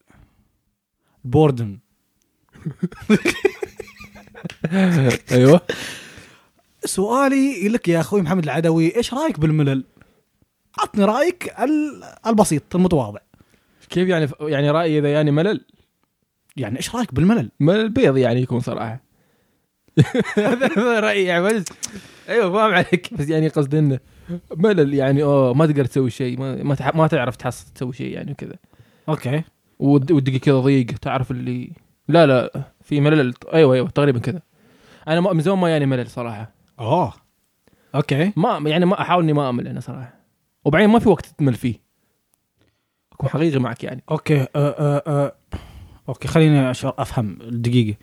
Speaker 1: بوردن
Speaker 2: ايوه
Speaker 1: سؤالي لك يا اخوي محمد العدوي ايش رايك بالملل؟ عطني رايك ال- البسيط المتواضع
Speaker 2: كيف يعني يعني رايي اذا يعني ملل
Speaker 1: يعني ايش رايك بالملل؟
Speaker 2: ملل بيض يعني يكون صراحه هذا هذا رايي يعني بس ايوه فاهم عليك بس يعني قصدي انه ملل يعني اوه ما تقدر تسوي شيء ما ما, تح- ما تعرف تحصل تسوي شيء يعني وكذا
Speaker 1: اوكي
Speaker 2: ود- ودقي كذا ضيق تعرف اللي لا لا في ملل ايوه ايوه تقريبا كذا انا ما- من زمان ما يعني ملل صراحه
Speaker 1: اوه اوكي
Speaker 2: ما يعني ما احاول اني ما امل انا صراحه وبعدين ما في وقت تمل فيه اكون حقيقي معك يعني
Speaker 1: اوكي أه أه أه. اوكي خليني أشعر افهم دقيقه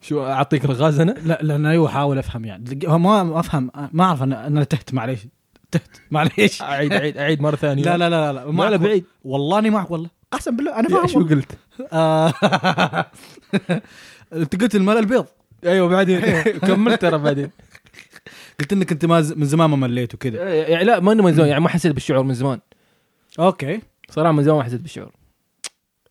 Speaker 2: شو اعطيك الغاز انا
Speaker 1: لا لان ايوه احاول افهم يعني دقيقة- ما ما افهم ما اعرف انا انا تهت معليش تهت معليش
Speaker 2: اعيد اعيد اعيد مره ثانيه
Speaker 1: لا لا لا لا
Speaker 2: ما يعني لا
Speaker 1: معك
Speaker 2: بعيد
Speaker 1: والله اني معك والله قسم بالله انا
Speaker 2: يا
Speaker 1: فاهم
Speaker 2: شو قلت
Speaker 1: آه. انت قلت الملل بيض
Speaker 2: ايوه بعدين كملت ترى بعدين
Speaker 1: قلت انك انت ما ز- من زمان ما مليت وكذا
Speaker 2: يعني لا ما انه من زمان يعني ما حسيت بالشعور من زمان
Speaker 1: اوكي
Speaker 2: صراحه من زمان ما حسيت بالشعور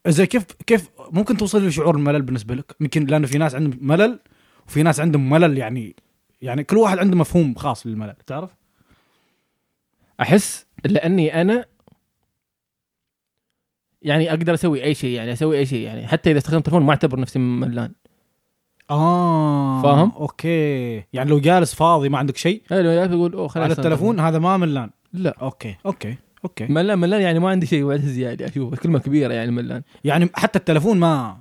Speaker 1: زي كيف كيف ممكن توصل لشعور الملل بالنسبه لك يمكن لانه في ناس عندهم ملل وفي ناس عندهم ملل يعني يعني كل واحد عنده مفهوم خاص للملل تعرف
Speaker 2: احس لاني انا يعني اقدر اسوي اي شيء يعني اسوي اي شيء يعني حتى اذا استخدمت تلفون ما اعتبر نفسي ملان
Speaker 1: اه
Speaker 2: فاهم؟
Speaker 1: اوكي يعني لو جالس فاضي ما عندك شيء
Speaker 2: حلو يا أخي يقول اوه خلاص
Speaker 1: على
Speaker 2: أنا
Speaker 1: التلفون هذا ما ملان
Speaker 2: لا
Speaker 1: اوكي اوكي اوكي
Speaker 2: ملان ملان يعني ما عندي شيء بعد زياده اشوف كلمه كبيره يعني ملان
Speaker 1: يعني حتى التلفون ما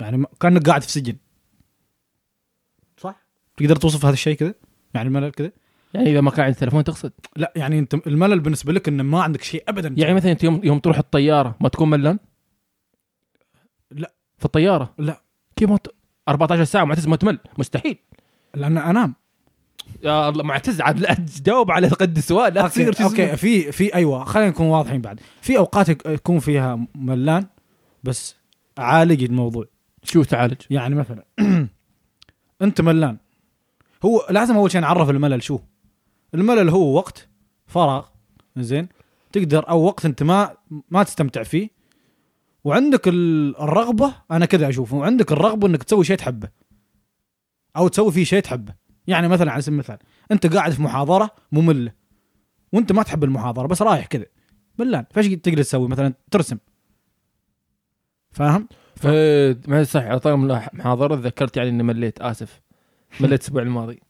Speaker 1: يعني ما- كانك قاعد في سجن صح تقدر توصف هذا الشيء كذا يعني الملل كذا
Speaker 2: يعني اذا ما كان عندي تلفون تقصد
Speaker 1: لا يعني انت الملل بالنسبه لك انه ما عندك شيء ابدا
Speaker 2: يعني مثلا انت يوم يوم تروح الطياره ما تكون ملان
Speaker 1: لا.
Speaker 2: في الطياره
Speaker 1: لا.
Speaker 2: كيف ما ت... 14 ساعه معتز ما تمل مستحيل
Speaker 1: لان انام
Speaker 2: يا الله معتز عاد لا تجاوب على قد السؤال لا تصير
Speaker 1: اوكي,
Speaker 2: شو اسمه.
Speaker 1: أوكي في في ايوه خلينا نكون واضحين بعد في اوقات يك- يكون فيها ملان بس عالج الموضوع
Speaker 2: شو تعالج
Speaker 1: يعني مثلا انت ملان هو لازم اول شيء نعرف الملل شو الملل هو وقت فراغ زين تقدر او وقت انت ما ما تستمتع فيه وعندك ال- الرغبه انا كذا اشوفه وعندك الرغبه انك تسوي شيء تحبه او تسوي فيه شيء تحبه يعني مثلا على سبيل المثال انت قاعد في محاضره ممله وانت ما تحب المحاضره بس رايح كذا ملان فايش تقدر تسوي مثلا ترسم فاهم
Speaker 2: إيه، ما صح على طار المحاضره تذكرت يعني اني مليت اسف مليت الاسبوع الماضي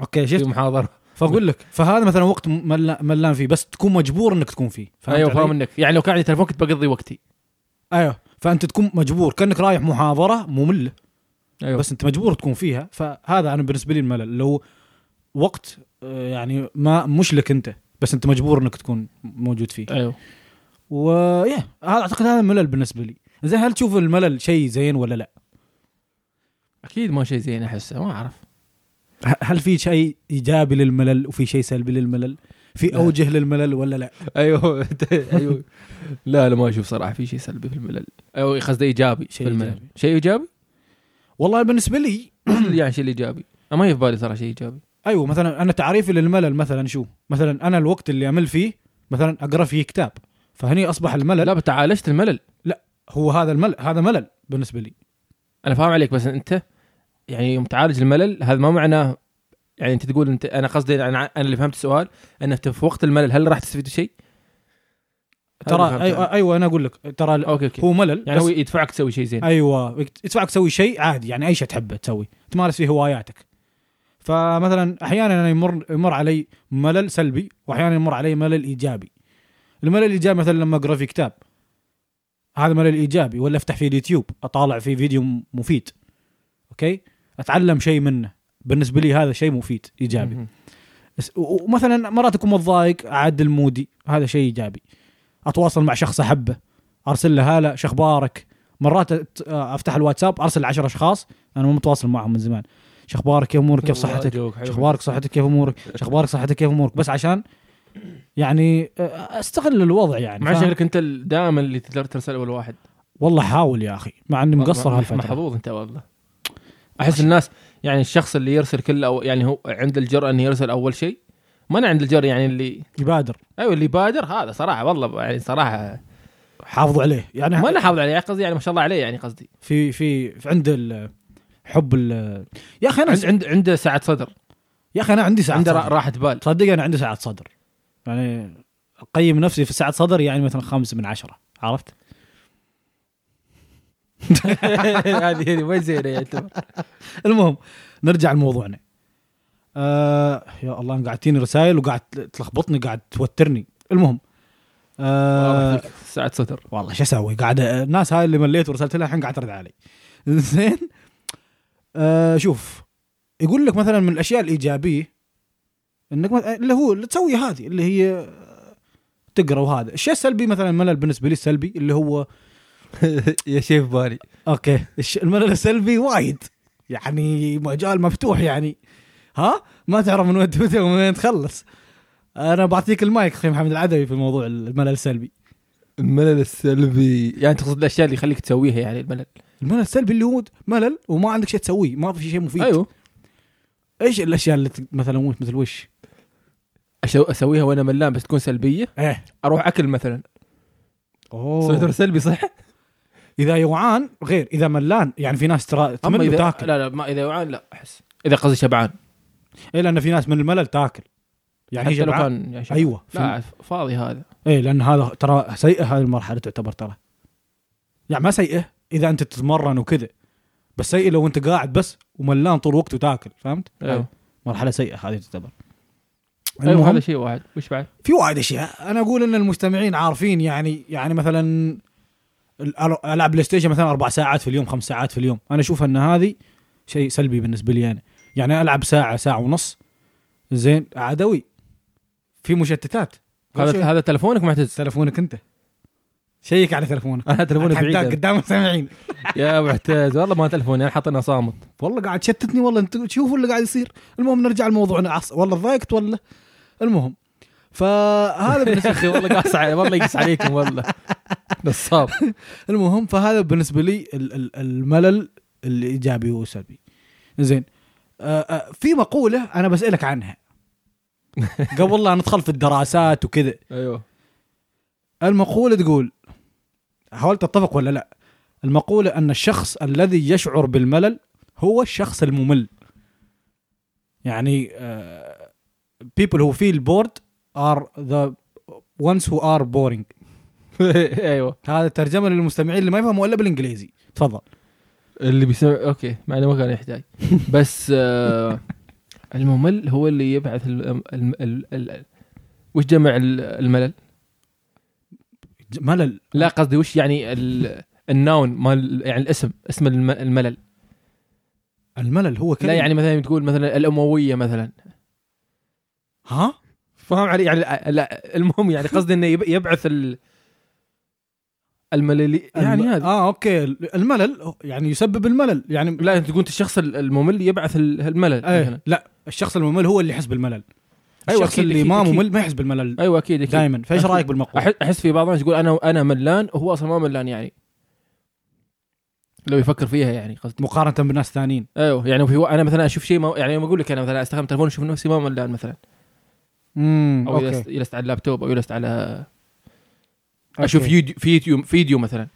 Speaker 1: اوكي شفت
Speaker 2: في محاضره
Speaker 1: فاقول لك فهذا مثلا وقت مل- ملان فيه بس تكون مجبور انك تكون فيه
Speaker 2: ايوه
Speaker 1: علي؟
Speaker 2: فاهم انك يعني لو كان عندي تلفون كنت بقضي وقتي
Speaker 1: ايوه فانت تكون مجبور كانك رايح محاضره ممله
Speaker 2: ايوه
Speaker 1: بس انت مجبور تكون فيها فهذا انا بالنسبه لي الملل اللي هو وقت آه، يعني ما مش لك انت بس انت مجبور انك تكون موجود فيه
Speaker 2: ايوه
Speaker 1: ويا هذا اعتقد هذا الملل بالنسبه لي زين هل تشوف الملل شيء زين ولا لا
Speaker 2: اكيد ما شيء زين احسه ما اعرف
Speaker 1: ه- هل في شيء ايجابي للملل وفي شيء سلبي للملل في
Speaker 2: لا.
Speaker 1: اوجه للملل ولا لا
Speaker 2: ايوه ايوه لا لا ما اشوف صراحه في شيء سلبي في الملل ايوه قصدي ايجابي
Speaker 1: شيء
Speaker 2: شيء في الملل
Speaker 1: إيجابي.
Speaker 2: شيء ايجابي؟
Speaker 1: والله بالنسبه لي
Speaker 2: وش اللي يعني شيء الايجابي؟ أنا ما هي في بالي صراحه شيء ايجابي
Speaker 1: ايوه مثلا انا تعريفي للملل مثلا شو؟ مثلا انا الوقت اللي امل فيه مثلا اقرا فيه كتاب فهني اصبح الملل
Speaker 2: لا بس تعالجت الملل
Speaker 1: هو هذا الملل هذا ملل بالنسبه لي
Speaker 2: انا فاهم عليك بس انت يعني يوم تعالج الملل هذا ما معناه يعني انت تقول انت انا قصدي انا انا اللي فهمت السؤال انه في وقت الملل هل راح تستفيد شيء؟
Speaker 1: ترى ايوه ايوه انا اقول لك ترى
Speaker 2: اوكي اوكي
Speaker 1: هو ملل
Speaker 2: يعني
Speaker 1: بس-
Speaker 2: هو يدفعك تسوي شيء زين
Speaker 1: ايوه يدفعك تسوي شيء عادي يعني اي شيء تحبه تسوي تمارس فيه هواياتك فمثلا احيانا انا يمر يمر علي ملل سلبي واحيانا يمر علي ملل ايجابي الملل الايجابي مثلا لما اقرا في كتاب هذا ملل ايجابي ولا افتح في اليوتيوب اطالع في فيديو م- مفيد اوكي اتعلم شيء منه بالنسبه لي هذا شيء مفيد ايجابي
Speaker 2: مهم.
Speaker 1: بس- و- ومثلا مرات اكون متضايق اعدل مودي هذا شيء ايجابي اتواصل مع شخص احبه ارسل له هلا شخبارك مرات أت- افتح الواتساب ارسل لعشر اشخاص انا مو متواصل معهم من زمان شخبارك كيف امورك كيف
Speaker 2: والله
Speaker 1: صحتك
Speaker 2: جوك حلو.
Speaker 1: شخبارك صحتك كيف امورك شخبارك صحتك كيف امورك بس عشان يعني أ- استغل الوضع يعني
Speaker 2: مع
Speaker 1: فاهم؟
Speaker 2: شغلك انت ال- دائما اللي تقدر ترسل اول واحد
Speaker 1: والله حاول يا اخي مع اني مقصر
Speaker 2: والله
Speaker 1: هالفتره
Speaker 2: محظوظ انت والله احس الناس يعني الشخص اللي يرسل كل أو يعني هو عنده الجرأه انه يرسل اول شيء ما انا عند الجرأه يعني اللي
Speaker 1: يبادر
Speaker 2: ايوه اللي بادر هذا صراحه والله يعني صراحه
Speaker 1: حافظوا عليه يعني
Speaker 2: ما انا حافظ عليه قصدي يعني ما شاء الله عليه يعني قصدي
Speaker 1: في في في عند ال- حب ال- يا اخي انا
Speaker 2: عند عند عنده سعه صدر
Speaker 1: يا اخي انا عندي ساعه
Speaker 2: عنده
Speaker 1: صدر.
Speaker 2: را- راحه بال
Speaker 1: تصدق انا عندي سعه صدر يعني اقيم نفسي في سعه صدر يعني مثلا خمسة من عشرة عرفت؟
Speaker 2: هذه هذه ما زينه يعني
Speaker 1: المهم نرجع لموضوعنا آه يا الله أنا قاعد تجيني رسائل وقاعد تلخبطني قاعد توترني المهم آه
Speaker 2: سعه صدر
Speaker 1: والله شو اسوي قاعد الناس هاي اللي مليت ورسلت لها الحين قاعد ترد علي زين آه شوف يقول لك مثلا من الاشياء الايجابيه انك مث- اللي هو اللي تسوي هذه اللي هي آه، تقرا وهذا الشيء السلبي مثلا الملل بالنسبه لي السلبي اللي هو
Speaker 2: يا شيف بالي
Speaker 1: اوكي الش- الملل السلبي وايد يعني مجال مفتوح يعني ها ما تعرف من وين تبدا ومن وين تخلص انا بعطيك المايك اخي محمد العدوي في موضوع الملل السلبي
Speaker 2: الملل السلبي يعني تقصد الاشياء اللي يخليك تسويها يعني الملل
Speaker 1: الملل السلبي اللي هو ملل وما عندك شيء تسويه ما في شيء مفيد
Speaker 2: ايوه
Speaker 1: ايش الاشياء اللي ت- مثلا وش مثل وش؟
Speaker 2: أشو- اسويها وانا ملان بس تكون سلبيه
Speaker 1: ايه
Speaker 2: اروح اكل مثلا صدر
Speaker 1: اوه
Speaker 2: سلبي صح
Speaker 1: اذا جوعان غير اذا ملان يعني في ناس ترى
Speaker 2: اما
Speaker 1: تمل
Speaker 2: اذا
Speaker 1: وتاكل
Speaker 2: لا لا ما اذا جوعان لا احس اذا قصدي شبعان
Speaker 1: اي لان إيه، في ناس من الملل تاكل يعني هي
Speaker 2: حتى لو
Speaker 1: جبعان
Speaker 2: كان يعني شبعان.
Speaker 1: ايوه
Speaker 2: لا فاضي هذا
Speaker 1: اي لان إيه، هذا ترى سيئه هذه المرحله تعتبر ترى يعني ما سيئه اذا انت تتمرن وكذا بس سيئه لو انت قاعد بس وملان طول الوقت وتاكل فهمت؟
Speaker 2: ايوه
Speaker 1: مرحله سيئه هذه تعتبر
Speaker 2: ايوه
Speaker 1: المهم-
Speaker 2: هذا شيء واحد وش بعد؟
Speaker 1: في وايد اشياء انا اقول ان المستمعين عارفين يعني يعني مثلا الأل- العب بلاي ستيشن مثلا اربع ساعات في اليوم خمس ساعات في اليوم انا اشوف ان هذه شيء سلبي بالنسبه لي انا يعني العب ساعه ساعه ونص زين عدوي في مشتتات
Speaker 2: هذا هذا تلفونك معتز
Speaker 1: تلفونك انت شيك على تلفونك
Speaker 2: انا تلفوني
Speaker 1: حتى
Speaker 2: بعيد
Speaker 1: قدام المستمعين
Speaker 2: يا معتز والله ما تلفوني انا حاطينه صامت
Speaker 1: والله قاعد تشتتني والله انت شوفوا اللي قاعد يصير المهم نرجع لموضوعنا عص- والله ضايقت ولا المهم فهذا بالنسبه
Speaker 2: يا اخي والله قاص علي والله يقص عليكم والله نصاب
Speaker 1: المهم فهذا بالنسبه لي ال- ال- الملل الايجابي والسلبي زين آه، آه، في مقوله انا بسالك عنها قبل لا ندخل في الدراسات وكذا
Speaker 2: ايوه
Speaker 1: المقوله تقول حاولت اتفق ولا لا المقوله ان الشخص الذي يشعر بالملل هو الشخص الممل يعني آه، people who feel bored are the ones who are boring
Speaker 2: ايوه
Speaker 1: هذا ترجمه للمستمعين اللي ما يفهموا الا بالانجليزي تفضل
Speaker 2: اللي بيسمع اوكي معنى ما كان يحتاج بس آه، الممل هو اللي يبعث ال... ال... ال... ال... وش جمع ال- الملل؟
Speaker 1: ج- ملل
Speaker 2: لا قصدي وش يعني ال... الناون مال يعني الاسم اسم الم- الملل
Speaker 1: الملل هو كلمة
Speaker 2: لا يعني مثلا تقول مثلا الامويه مثلا
Speaker 1: ها
Speaker 2: فاهم علي يعني لا المهم يعني قصدي انه يب- يبعث ال... المللي يعني
Speaker 1: الم-
Speaker 2: هذا
Speaker 1: اه اوكي الملل يعني يسبب الملل يعني
Speaker 2: لا انت تقول أنت الشخص الممل يبعث ال- الملل مثلا
Speaker 1: ايه لا الشخص الممل هو اللي يحس بالملل
Speaker 2: أيوة،
Speaker 1: الشخص
Speaker 2: أكيد،
Speaker 1: اللي
Speaker 2: أكيد،
Speaker 1: ما
Speaker 2: أكيد.
Speaker 1: ممل ما يحس بالملل
Speaker 2: ايوه اكيد اكيد
Speaker 1: دائما فايش
Speaker 2: أكيد.
Speaker 1: رايك بالمقوله
Speaker 2: احس احس في بعض الناس يقول انا انا ملان وهو اصلا ما ملان يعني لو يفكر فيها يعني قصدي
Speaker 1: مقارنه بالناس الثانيين
Speaker 2: ايوه يعني في و- انا مثلا اشوف شيء ما يعني يوم اقول لك انا مثلا استخدم تلفون اشوف نفسي ما ملان مثلا
Speaker 1: امم
Speaker 2: او
Speaker 1: اوكي
Speaker 2: يلست, يلست على اللابتوب او يلست على اشوف
Speaker 1: اشوف
Speaker 2: يوديو في يوتيوب فيديو مثلا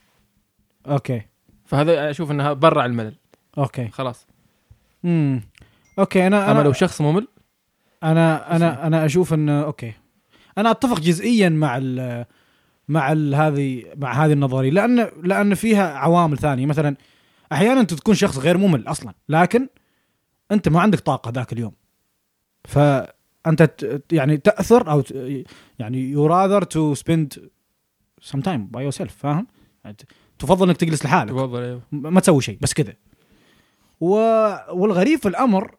Speaker 1: اوكي
Speaker 2: فهذا اشوف انها برا الملل
Speaker 1: اوكي
Speaker 2: خلاص
Speaker 1: امم اوكي انا
Speaker 2: اما لو
Speaker 1: انا
Speaker 2: شخص ممل
Speaker 1: انا انا, أنا اشوف ان اوكي انا اتفق جزئيا مع ال- مع ال- هذه مع هذه النظريه لان لان فيها عوامل ثانيه مثلا احيانا انت تكون شخص غير ممل اصلا لكن انت ما عندك طاقه ذاك اليوم فانت ت- يعني تاثر او ت- يعني يو راذر تو سبند سم تايم باي يور سيلف فاهم؟ يعني ت- تفضل انك تجلس لحالك
Speaker 2: تفضل ايوه
Speaker 1: ما تسوي شيء بس كذا و... والغريب في الامر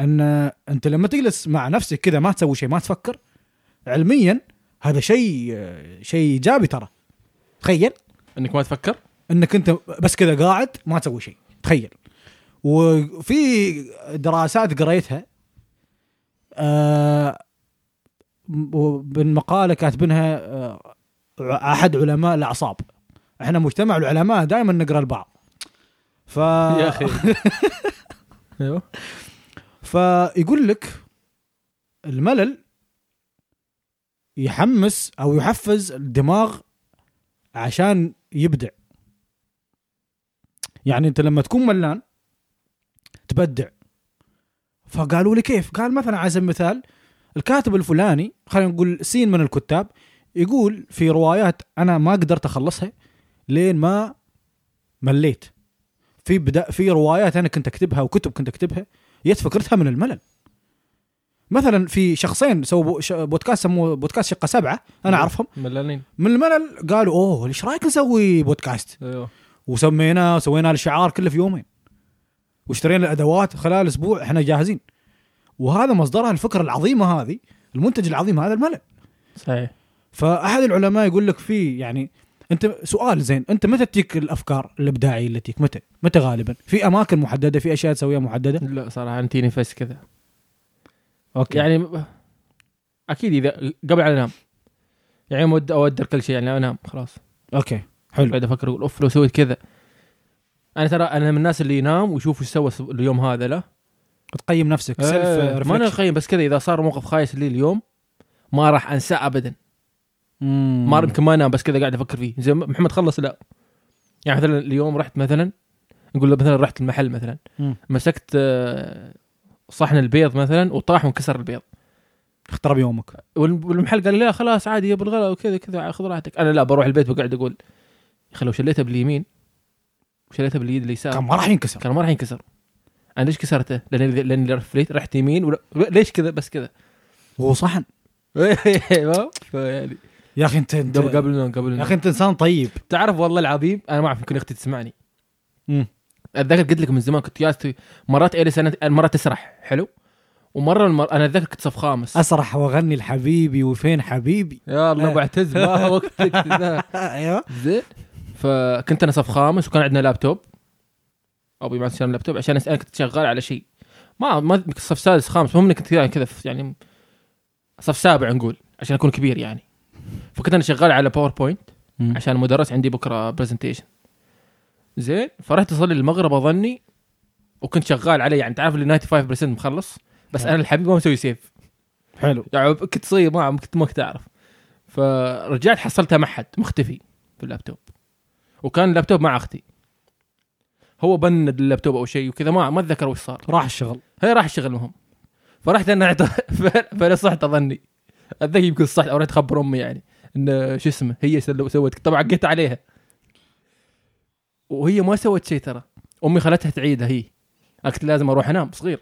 Speaker 1: ان انت لما تجلس مع نفسك كذا ما تسوي شيء ما تفكر علميا هذا شيء شيء ايجابي ترى تخيل
Speaker 2: انك ما تفكر
Speaker 1: انك انت بس كذا قاعد ما تسوي شيء تخيل وفي دراسات قريتها آه من مقاله كاتبينها آه احد علماء الاعصاب احنا مجتمع العلماء دائما نقرا البعض ف
Speaker 2: يا اخي ايوه
Speaker 1: فيقول لك الملل يحمس او يحفز الدماغ عشان يبدع يعني انت لما تكون ملان تبدع فقالوا لي كيف قال مثلا على سبيل المثال الكاتب الفلاني خلينا نقول سين من الكتاب يقول في روايات انا ما قدرت اخلصها لين ما مليت في بدا في روايات انا كنت اكتبها وكتب كنت اكتبها جت فكرتها من الملل مثلا في شخصين سووا ش- بودكاست سموه بودكاست شقه سبعه انا
Speaker 2: نعم.
Speaker 1: اعرفهم
Speaker 2: ملانين
Speaker 1: من الملل قالوا اوه ايش رايك نسوي بودكاست
Speaker 2: ايوه
Speaker 1: وسميناه وسوينا الشعار كله في يومين واشترينا الادوات خلال اسبوع احنا جاهزين وهذا مصدرها الفكره العظيمه هذه المنتج العظيم هذا الملل
Speaker 2: صحيح
Speaker 1: فاحد العلماء يقول لك في يعني انت سؤال زين انت متى تجيك الافكار الابداعيه اللي تجيك متى متى غالبا في اماكن محدده في اشياء تسويها محدده
Speaker 2: لا صراحه انتيني فس كذا
Speaker 1: اوكي يعني
Speaker 2: يعني م- اكيد اذا قبل أن انام يعني ما ود اودر كل شيء يعني انام خلاص
Speaker 1: اوكي حلو
Speaker 2: قاعد افكر اقول اوف لو سويت كذا انا ترى انا من الناس اللي ينام ويشوف ايش سوى الس- اليوم هذا له
Speaker 1: تقيم نفسك
Speaker 2: آه،
Speaker 1: سيلف
Speaker 2: ما انا خايف بس كذا اذا صار موقف خايس لي اليوم ما راح انساه ابدا ما يمكن ما انام بس كذا قاعد افكر فيه زي ما- محمد خلص لا يعني مثلا اليوم رحت مثلا نقول له مثلا رحت المحل مثلا
Speaker 1: مم.
Speaker 2: مسكت آه، صحن البيض مثلا وطاح وانكسر البيض
Speaker 1: اخترب يومك
Speaker 2: والم- والمحل قال لي لا خلاص عادي يا بالغلا وكذا كذا خذ راحتك انا لا بروح البيت وقاعد اقول يا اخي لو شليتها باليمين وشليتها باليد اليسار
Speaker 1: كان ما راح ينكسر
Speaker 2: كان ما راح ينكسر انا ليش كسرته؟ لان لان لفيت رحت يمين ولا- ليش كذا بس كذا
Speaker 1: وهو صحن
Speaker 2: ايوه يعني
Speaker 1: يا اخي انت, انت
Speaker 2: قبل قبل النوم قبل
Speaker 1: يا
Speaker 2: النوم
Speaker 1: اخي انت انسان طيب
Speaker 2: تعرف والله العظيم انا ما اعرف يمكن اختي تسمعني
Speaker 1: مم.
Speaker 2: اتذكر قلت لك من زمان كنت ياستي مرات الي سنه مرات تسرح حلو ومره المر... انا اتذكر كنت صف خامس
Speaker 1: اسرح واغني لحبيبي وفين حبيبي
Speaker 2: يا الله بعتز ما وقتك ذا.
Speaker 1: ايوه
Speaker 2: زين فكنت انا صف خامس وكان عندنا لابتوب ابوي ما كان لابتوب عشان انا كنت شغال على شيء ما ما أذكر صف سادس خامس المهم اني كنت يعني كذا في- يعني صف سابع نقول عشان اكون كبير يعني فكنت انا شغال على باوربوينت عشان مدرس عندي بكره برزنتيشن زين فرحت اصلي المغرب اظني وكنت شغال عليه يعني تعرف اللي 95% مخلص بس انا الحبيب ما مسوي سيف
Speaker 1: حلو
Speaker 2: يعني كنت صغير ما ما كنت ما كنت اعرف فرجعت حصلتها مع حد مختفي في اللابتوب وكان اللابتوب مع اختي هو بن اللابتوب او شيء وكذا ما ما اتذكر وش صار
Speaker 1: راح الشغل
Speaker 2: هي راح الشغل مهم فرحت انا أعت- ف- فانا صحت اظني اتذكر يمكن صحت او رحت اخبر امي يعني ان شو اسمه هي سلو- سوت طبعا قلت عليها وهي ما سوت شيء ترى امي خلتها تعيدها هي أنا كنت لازم اروح انام صغير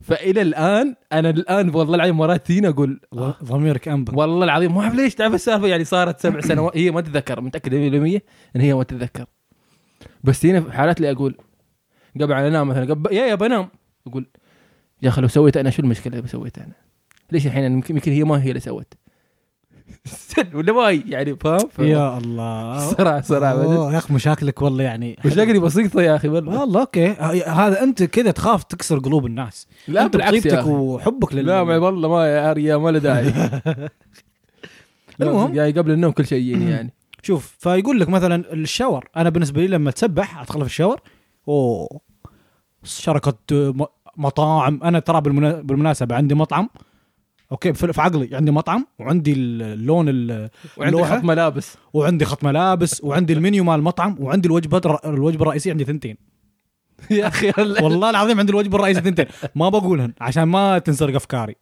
Speaker 2: فالى الان انا الان والله العظيم مرات تجيني اقول
Speaker 1: ض- ضميرك انبك
Speaker 2: والله العظيم ما اعرف ليش تعرف السالفه يعني صارت سبع سنوات هي ما تتذكر متاكد 100% ان هي ما تتذكر بس هنا في حالات اللي اقول قبل على انام مثلا قبل يا يا بنام اقول يا اخي لو سويت انا شو المشكله اللي سويت انا؟ ليش الحين أنا يمكن يمكن هي ما هي اللي سوت ولا ما هي يعني فاهم؟ ف-
Speaker 1: يا الله
Speaker 2: صراحه صراحه
Speaker 1: أوه، يا اخي مشاكلك والله يعني
Speaker 2: مشاكلي بسيطه يا اخي والله
Speaker 1: والله اوكي ه- هذا انت كذا تخاف تكسر قلوب الناس
Speaker 2: لا
Speaker 1: انت
Speaker 2: بالعكس يا
Speaker 1: طيبتك
Speaker 2: أخي.
Speaker 1: وحبك لل
Speaker 2: لا ما- والله ما يا اريا ما له داعي
Speaker 1: المهم.
Speaker 2: المهم يعني قبل النوم كل شيء يجيني يعني
Speaker 1: شوف فيقول لك مثلا الشاور انا بالنسبه لي لما اتسبح ادخل في الشاور اوه شركه م- مطاعم انا ترى بالمنا- بالمناسبه عندي مطعم اوكي في في عقلي عندي مطعم وعندي اللون ال-
Speaker 2: وعندك
Speaker 1: لوحة؟
Speaker 2: خط ملابس
Speaker 1: وعندي خط ملابس وعندي المنيو مال المطعم وعندي الوجبه الر- الوجبه الرئيسيه عندي ثنتين
Speaker 2: يا اخي
Speaker 1: والله العظيم عندي الوجبه الرئيسيه ثنتين ما بقولهن عشان ما تنسرق افكاري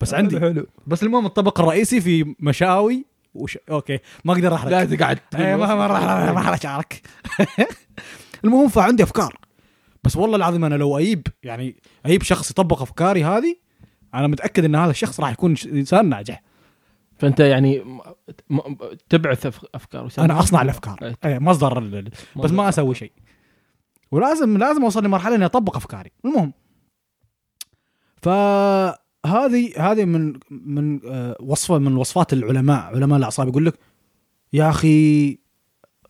Speaker 1: بس عندي
Speaker 2: حلو
Speaker 1: بس المهم الطبق الرئيسي في مشاوي وش... اوكي ما اقدر احرق
Speaker 2: لا تقعد
Speaker 1: إيه، ما ما راح ما راح اشارك المهم فعندي افكار بس والله العظيم انا لو اجيب يعني اجيب شخص يطبق افكاري هذه انا متاكد ان هذا الشخص راح يكون ش- انسان ناجح
Speaker 2: فانت يعني م... م... تبعث أف- افكار وسلام.
Speaker 1: انا اصنع الافكار
Speaker 2: إيه.
Speaker 1: إيه، مصدر ال- ال- بس ما اسوي شيء ولازم لازم اوصل لمرحله اني اطبق افكاري المهم فهذه هذه من من آه، وصفه من وصفات العلماء علماء الاعصاب يقول لك يا اخي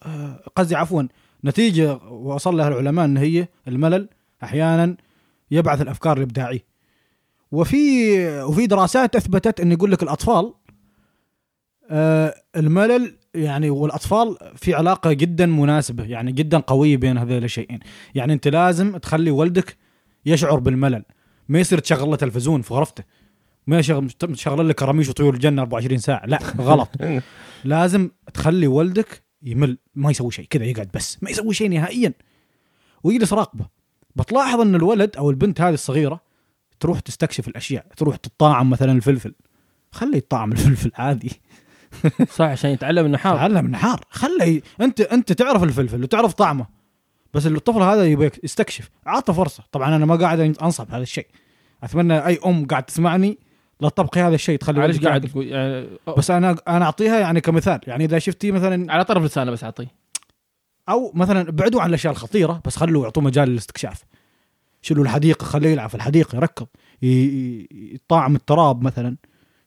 Speaker 1: آه، قصدي عفوا نتيجه وصل لها العلماء ان هي الملل احيانا يبعث الافكار الابداعيه وفي وفي دراسات اثبتت ان يقول لك الاطفال آه، الملل يعني والاطفال في علاقه جدا مناسبه يعني جدا قويه بين هذين الشيئين يعني انت لازم تخلي والدك يشعر بالملل ما يصير تشغل له تلفزيون في غرفته ما يشغل تشغل له كراميش وطيور الجنه 24 ساعه لا غلط لازم تخلي والدك يمل ما يسوي شيء كذا يقعد بس ما يسوي شيء نهائيا ويجلس راقبه بتلاحظ ان الولد او البنت هذه الصغيره تروح تستكشف الاشياء تروح تطعم مثلا الفلفل خليه يطعم الفلفل عادي
Speaker 2: صح عشان يتعلم انه حار
Speaker 1: تعلم النحار خلي انت انت تعرف الفلفل وتعرف طعمه بس الطفل هذا يبيك يستكشف اعطه فرصه طبعا انا ما قاعد انصح بهذا الشيء اتمنى اي ام قاعد تسمعني لا تطبقي هذا الشيء تخلي
Speaker 2: معلش
Speaker 1: ولدك
Speaker 2: قاعد
Speaker 1: يعرف.
Speaker 2: تقول يعني
Speaker 1: بس انا انا اعطيها يعني كمثال يعني اذا شفتي مثلا
Speaker 2: على طرف لسانه بس اعطيه
Speaker 1: او مثلا ابعدوا عن الاشياء الخطيره بس خلوا يعطوه مجال للاستكشاف شيلوا الحديقه خليه يلعب في الحديقه يركض ي- ي- يطعم التراب مثلا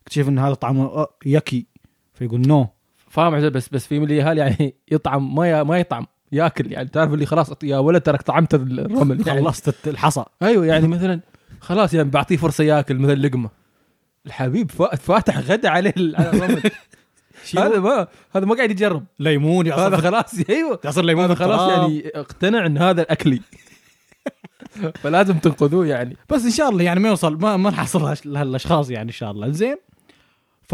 Speaker 1: اكتشف ان هذا طعمه آه، يكي فيقول نو
Speaker 2: فاهم عزيز بس بس في من اللي هال يعني يطعم ما ي... ما يطعم ياكل يعني تعرف اللي خلاص يا ولد ترك طعمت الرمل يعني.
Speaker 1: خلصت الحصى
Speaker 2: ايوه يعني مثلا خلاص يعني بعطيه فرصه ياكل مثلا لقمه الحبيب فا- فاتح غدا عليه ال- على الرمل هذا ما هذا ما قاعد يجرب
Speaker 1: ليمون
Speaker 2: هذا
Speaker 1: يعصر
Speaker 2: خلاص ايوه
Speaker 1: يعصر ليمون
Speaker 2: هذا خلاص
Speaker 1: بالتراب.
Speaker 2: يعني اقتنع ان هذا اكلي فلازم تنقذوه يعني
Speaker 1: بس ان شاء الله يعني ما يوصل ما ما نحصل هالأش- هالاشخاص يعني ان شاء الله زين ف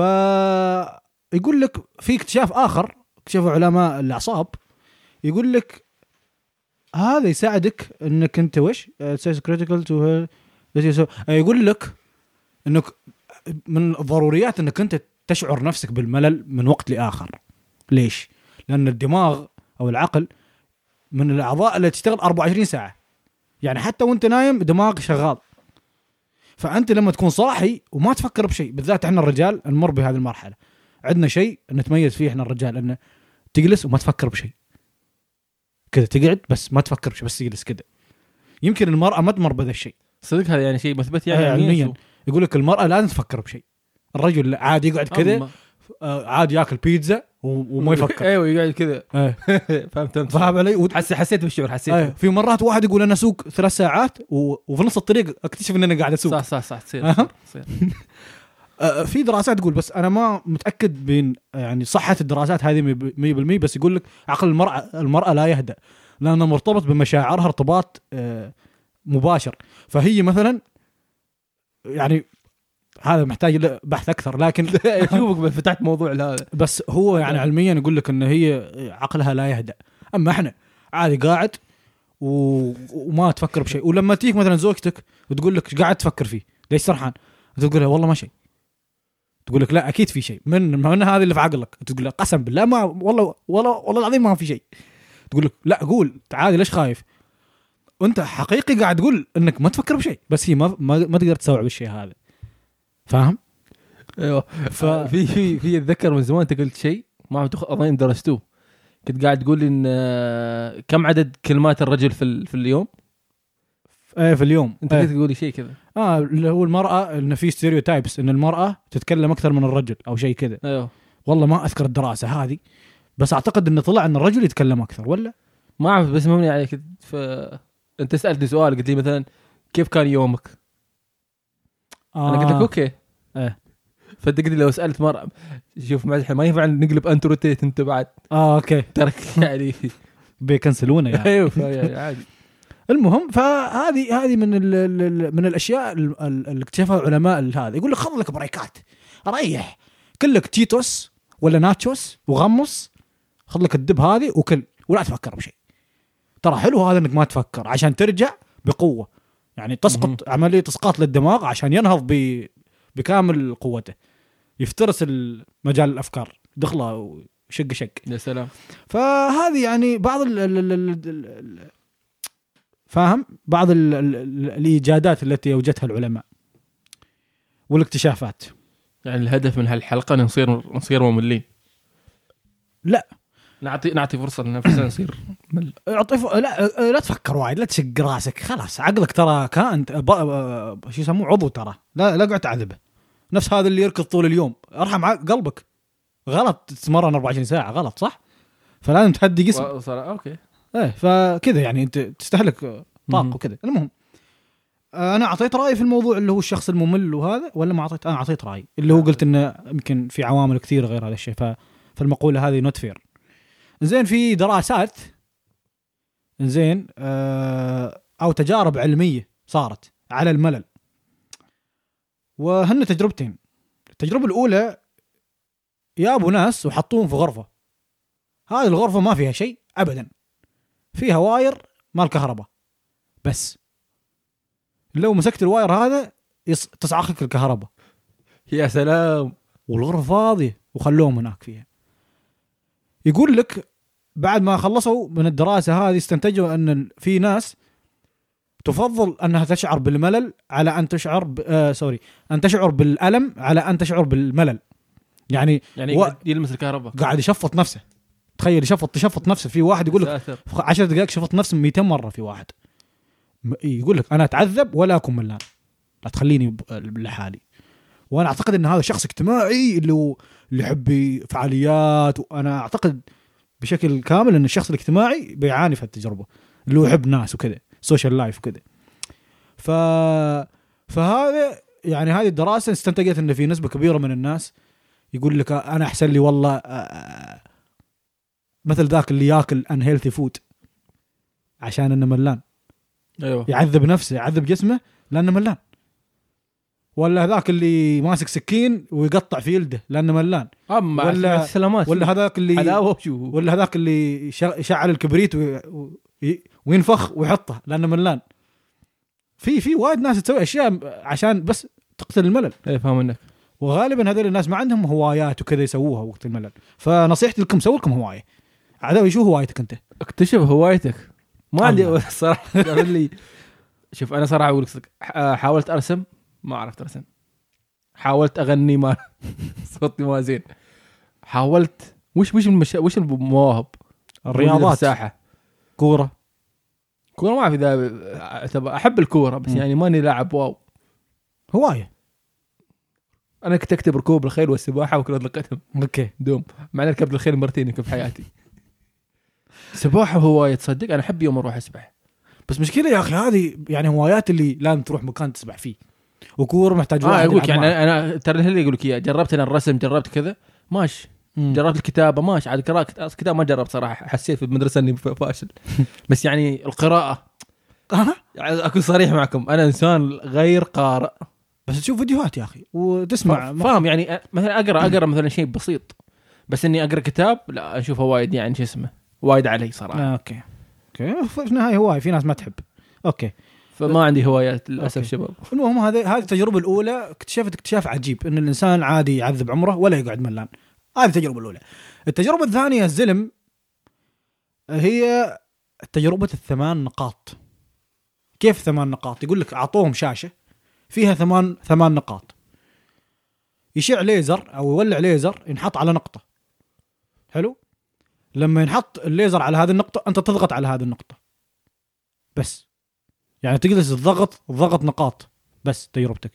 Speaker 1: يقول لك في اكتشاف اخر اكتشفوا علماء الاعصاب يقول لك هذا يساعدك انك انت وش؟ كريتيكال تو يقول لك انك من الضروريات انك انت تشعر نفسك بالملل من وقت لاخر. ليش؟ لان الدماغ او العقل من الاعضاء اللي تشتغل 24 ساعه. يعني حتى وانت نايم دماغك شغال. فانت لما تكون صاحي وما تفكر بشيء بالذات احنا الرجال نمر بهذه المرحله. عندنا شيء نتميز فيه احنا الرجال انه تجلس وما تفكر بشيء. كذا تقعد بس ما تفكر بشيء بس تجلس كذا. يمكن المراه ما تمر بهذا الشيء.
Speaker 2: صدق هذا يعني شيء مثبت يعني
Speaker 1: آه، علمياً.
Speaker 2: شو؟
Speaker 1: يقول لك المراه لازم تفكر بشيء الرجل لا، عادي يقعد كذا
Speaker 2: أما-
Speaker 1: آه، عادي ياكل بيتزا و- وما يفكر
Speaker 2: ايوه يقعد كذا
Speaker 1: إيه.
Speaker 2: فهمت فهمت
Speaker 1: فاهم علي و-
Speaker 2: حس حسيت بالشعور
Speaker 1: إيه،
Speaker 2: حسيت
Speaker 1: في مرات واحد يقول انا اسوق ثلاث ساعات و... وفي نص الطريق اكتشف ان انا قاعد اسوق
Speaker 2: صح صح صح تصير
Speaker 1: أها.
Speaker 2: تصير
Speaker 1: آه، في دراسات تقول بس انا ما متاكد من يعني صحه الدراسات هذه 100% بس يقول لك عقل المراه المراه لا يهدأ لانه مرتبط بمشاعرها ارتباط آه، مباشر فهي مثلا يعني هذا محتاج له بحث اكثر لكن
Speaker 2: إيه، اشوفك فتحت موضوع هذا
Speaker 1: بس هو يعني علميا يقول لك ان هي عقلها لا يهدأ اما احنا عادي قاعد و... وما تفكر بشيء ولما تيك مثلا زوجتك وتقول لك إيش قاعد تفكر فيه ليش سرحان أنت تقول لها والله ما شيء تقول لك لا اكيد في شيء من من هذه اللي في عقلك تقول لها قسم بالله ما والله والله والله العظيم ما في شيء تقول لك لا قول عادي ليش خايف وانت حقيقي قاعد تقول انك ما تفكر بشيء بس هي ما ما, ما تقدر تستوعب الشيء هذا فاهم
Speaker 2: ايوه
Speaker 1: ف-
Speaker 2: في في في اتذكر من زمان انت قلت شيء ما عم تخ- اظن درستوه كنت قاعد تقول لي ان آه، كم عدد كلمات الرجل في ال- في اليوم
Speaker 1: ايه في اليوم
Speaker 2: انت
Speaker 1: إيه.
Speaker 2: كنت تقول لي شيء كذا
Speaker 1: اه اللي هو المراه انه في ستيريوتايبس ان المراه تتكلم اكثر من الرجل او شيء كذا
Speaker 2: ايوه
Speaker 1: والله ما اذكر الدراسه هذه بس اعتقد انه طلع ان الرجل يتكلم اكثر ولا
Speaker 2: ما اعرف بس مبني عليك ف... انت سالتني سؤال قلت لي مثلا كيف كان يومك؟
Speaker 1: آه
Speaker 2: انا قلت لك اوكي
Speaker 1: إيه.
Speaker 2: فانت قلت لي لو سالت مره شوف مع الحين ما ينفع نقلب انت روتيت انت بعد
Speaker 1: اه اوكي
Speaker 2: ترك يعني
Speaker 1: بيكنسلونه يعني
Speaker 2: ايوه ف- يعني عادي
Speaker 1: المهم فهذه هذه من ال ال ال- من الاشياء ال- ال- اللي اكتشفها العلماء هذا يقول لك خذ لك بريكات ريح كلك تيتوس ولا ناتشوس وغمص خذ لك الدب هذه وكل ولا تفكر بشيء ترى حلو هذا انك ما تفكر عشان ترجع بقوه يعني
Speaker 2: مهم.
Speaker 1: تسقط عمليه اسقاط للدماغ عشان ينهض ب بكامل قوته يفترس ال- مجال الافكار دخله وشق شق
Speaker 2: يا سلام
Speaker 1: فهذه يعني بعض ال ال ال ال ال ال فاهم بعض ال ال ال الايجادات التي اوجدها العلماء والاكتشافات
Speaker 2: يعني الهدف من هالحلقه نصير نصير مملين
Speaker 1: لا.
Speaker 2: نعطي نعطي فرصه لنفسنا نصير مل
Speaker 1: اعطي ف- لا لا تفكر وايد لا تشق راسك خلاص عقلك ترى كان ب- ب- شو يسموه عضو ترى لا لا قعد تعذبه نفس هذا اللي يركض طول اليوم ارحم ع- قلبك غلط تتمرن 24 ساعه غلط صح؟ فلازم تهدي جسمك
Speaker 2: وصل- اوكي
Speaker 1: ايه فكذا يعني انت تستهلك
Speaker 2: مهم.
Speaker 1: طاقه وكذا المهم آه، انا اعطيت رايي في الموضوع اللي هو الشخص الممل وهذا ولا ما اعطيت انا اعطيت رايي اللي هو قلت انه يمكن في عوامل كثيره غير هذا الشيء ف... فالمقوله هذه نوت فير زين في دراسات زين آه، او تجارب علميه صارت على الملل وهن تجربتين التجربه الاولى جابوا ناس وحطوهم في غرفه هذه الغرفه ما فيها شيء ابدا فيها واير مال كهرباء بس لو مسكت الواير هذا يص... تصعخك الكهرباء
Speaker 2: يا سلام
Speaker 1: والغرفه فاضيه وخلوهم هناك فيها يقول لك بعد ما خلصوا من الدراسه هذه استنتجوا ان ال- في ناس تفضل انها تشعر بالملل على ان تشعر ب... آه سوري ان تشعر بالالم على ان تشعر بالملل يعني
Speaker 2: يعني
Speaker 1: و-
Speaker 2: و... يلمس الكهرباء
Speaker 1: قاعد يشفط نفسه تخيل يشفط يشفط نفسه في واحد يقول لك
Speaker 2: ساتر.
Speaker 1: في 10 دقائق شفت نفسي 200 مره في واحد م- يقول لك انا اتعذب ولا اكون ملان لا تخليني ب- لحالي وانا اعتقد ان هذا شخص اجتماعي اللي هو اللي يحب فعاليات وانا اعتقد بشكل كامل ان الشخص الاجتماعي بيعاني في التجربه اللي هو يحب ناس وكذا سوشيال لايف وكذا ف فهذا يعني هذه الدراسه استنتجت ان في نسبه كبيره من الناس يقول لك انا احسن لي والله آه، مثل ذاك اللي ياكل ان هيلثي فود عشان انه ملان
Speaker 2: ايوه
Speaker 1: يعذب نفسه يعذب جسمه لانه ملان ولا هذاك اللي ماسك سكين ويقطع في يلده لانه ملان
Speaker 2: اما
Speaker 1: ولا-
Speaker 2: ولا سلامات
Speaker 1: ولا هذاك اللي
Speaker 2: حلاوه وشو
Speaker 1: ولا هذاك اللي يشع- يشعل الكبريت وي- وي- وينفخ ويحطه لانه ملان في في وايد ناس تسوي اشياء عشان بس تقتل الملل
Speaker 2: ايه فاهم انك
Speaker 1: وغالبا هذول الناس ما عندهم هوايات وكذا يسووها وقت الملل فنصيحتي لكم سووا لكم هوايه عداوي شو هوايتك انت؟
Speaker 2: اكتشف هوايتك ما عندي
Speaker 1: الله.
Speaker 2: الصراحه قال لي شوف انا صراحه اقول لك صدق، ح- آه، حاولت ارسم ما عرفت ارسم حاولت اغني ما صوتي ما زين حاولت وش وش المشا... وش المواهب
Speaker 1: الرياضات
Speaker 2: الساحه
Speaker 1: كوره
Speaker 2: كوره ما اعرف اذا أعتبر- احب الكوره بس
Speaker 1: مم.
Speaker 2: يعني ماني لاعب واو
Speaker 1: هوايه
Speaker 2: انا كنت اكتب ركوب الخيل والسباحه وكرة القدم
Speaker 1: اوكي
Speaker 2: دوم مع اني ركبت الخيل مرتين يمكن في حياتي سباحه هوايه تصدق انا احب يوم اروح اسبح
Speaker 1: بس مشكله يا اخي هذه يعني هوايات اللي لازم تروح مكان تسبح فيه وكوره محتاج
Speaker 2: اه
Speaker 1: واحد
Speaker 2: اقول لك
Speaker 1: يلعب
Speaker 2: يعني انا ترى الهلي يقول لك إياه، جربت انا الرسم جربت كذا ماشي
Speaker 1: معه.
Speaker 2: جربت الكتابه ماشي عاد قراءه كت- كتاب ما جربت صراحه حسيت في المدرسه اني ف- فاشل بس يعني القراءه
Speaker 1: أها.
Speaker 2: يعني اكون صريح معكم انا انسان غير قارئ
Speaker 1: بس تشوف فيديوهات يا اخي
Speaker 2: ف-
Speaker 1: وتسمع ما-
Speaker 2: فاهم يعني أ- مثلا اقرا اقرا مثلا شيء بسيط بس اني اقرا كتاب لا اشوفه وايد يعني شو اسمه وايد علي صراحه
Speaker 1: آه، اوكي اوكي في النهايه هوايه في ناس ما تحب اوكي
Speaker 2: فما عندي هوايات للاسف
Speaker 1: أوكي.
Speaker 2: شباب
Speaker 1: المهم هذا هذه التجربه الاولى اكتشفت اكتشاف عجيب ان الانسان عادي يعذب عمره ولا يقعد ملان هذه التجربه الاولى التجربه الثانيه يا الزلم هي تجربه الثمان نقاط كيف ثمان نقاط يقول لك اعطوهم شاشه فيها ثمان ثمان نقاط يشع ليزر او يولع ليزر ينحط على نقطه حلو لما ينحط الليزر على هذه النقطه انت تضغط على هذه النقطه بس يعني تجلس تضغط ضغط نقاط بس تجربتك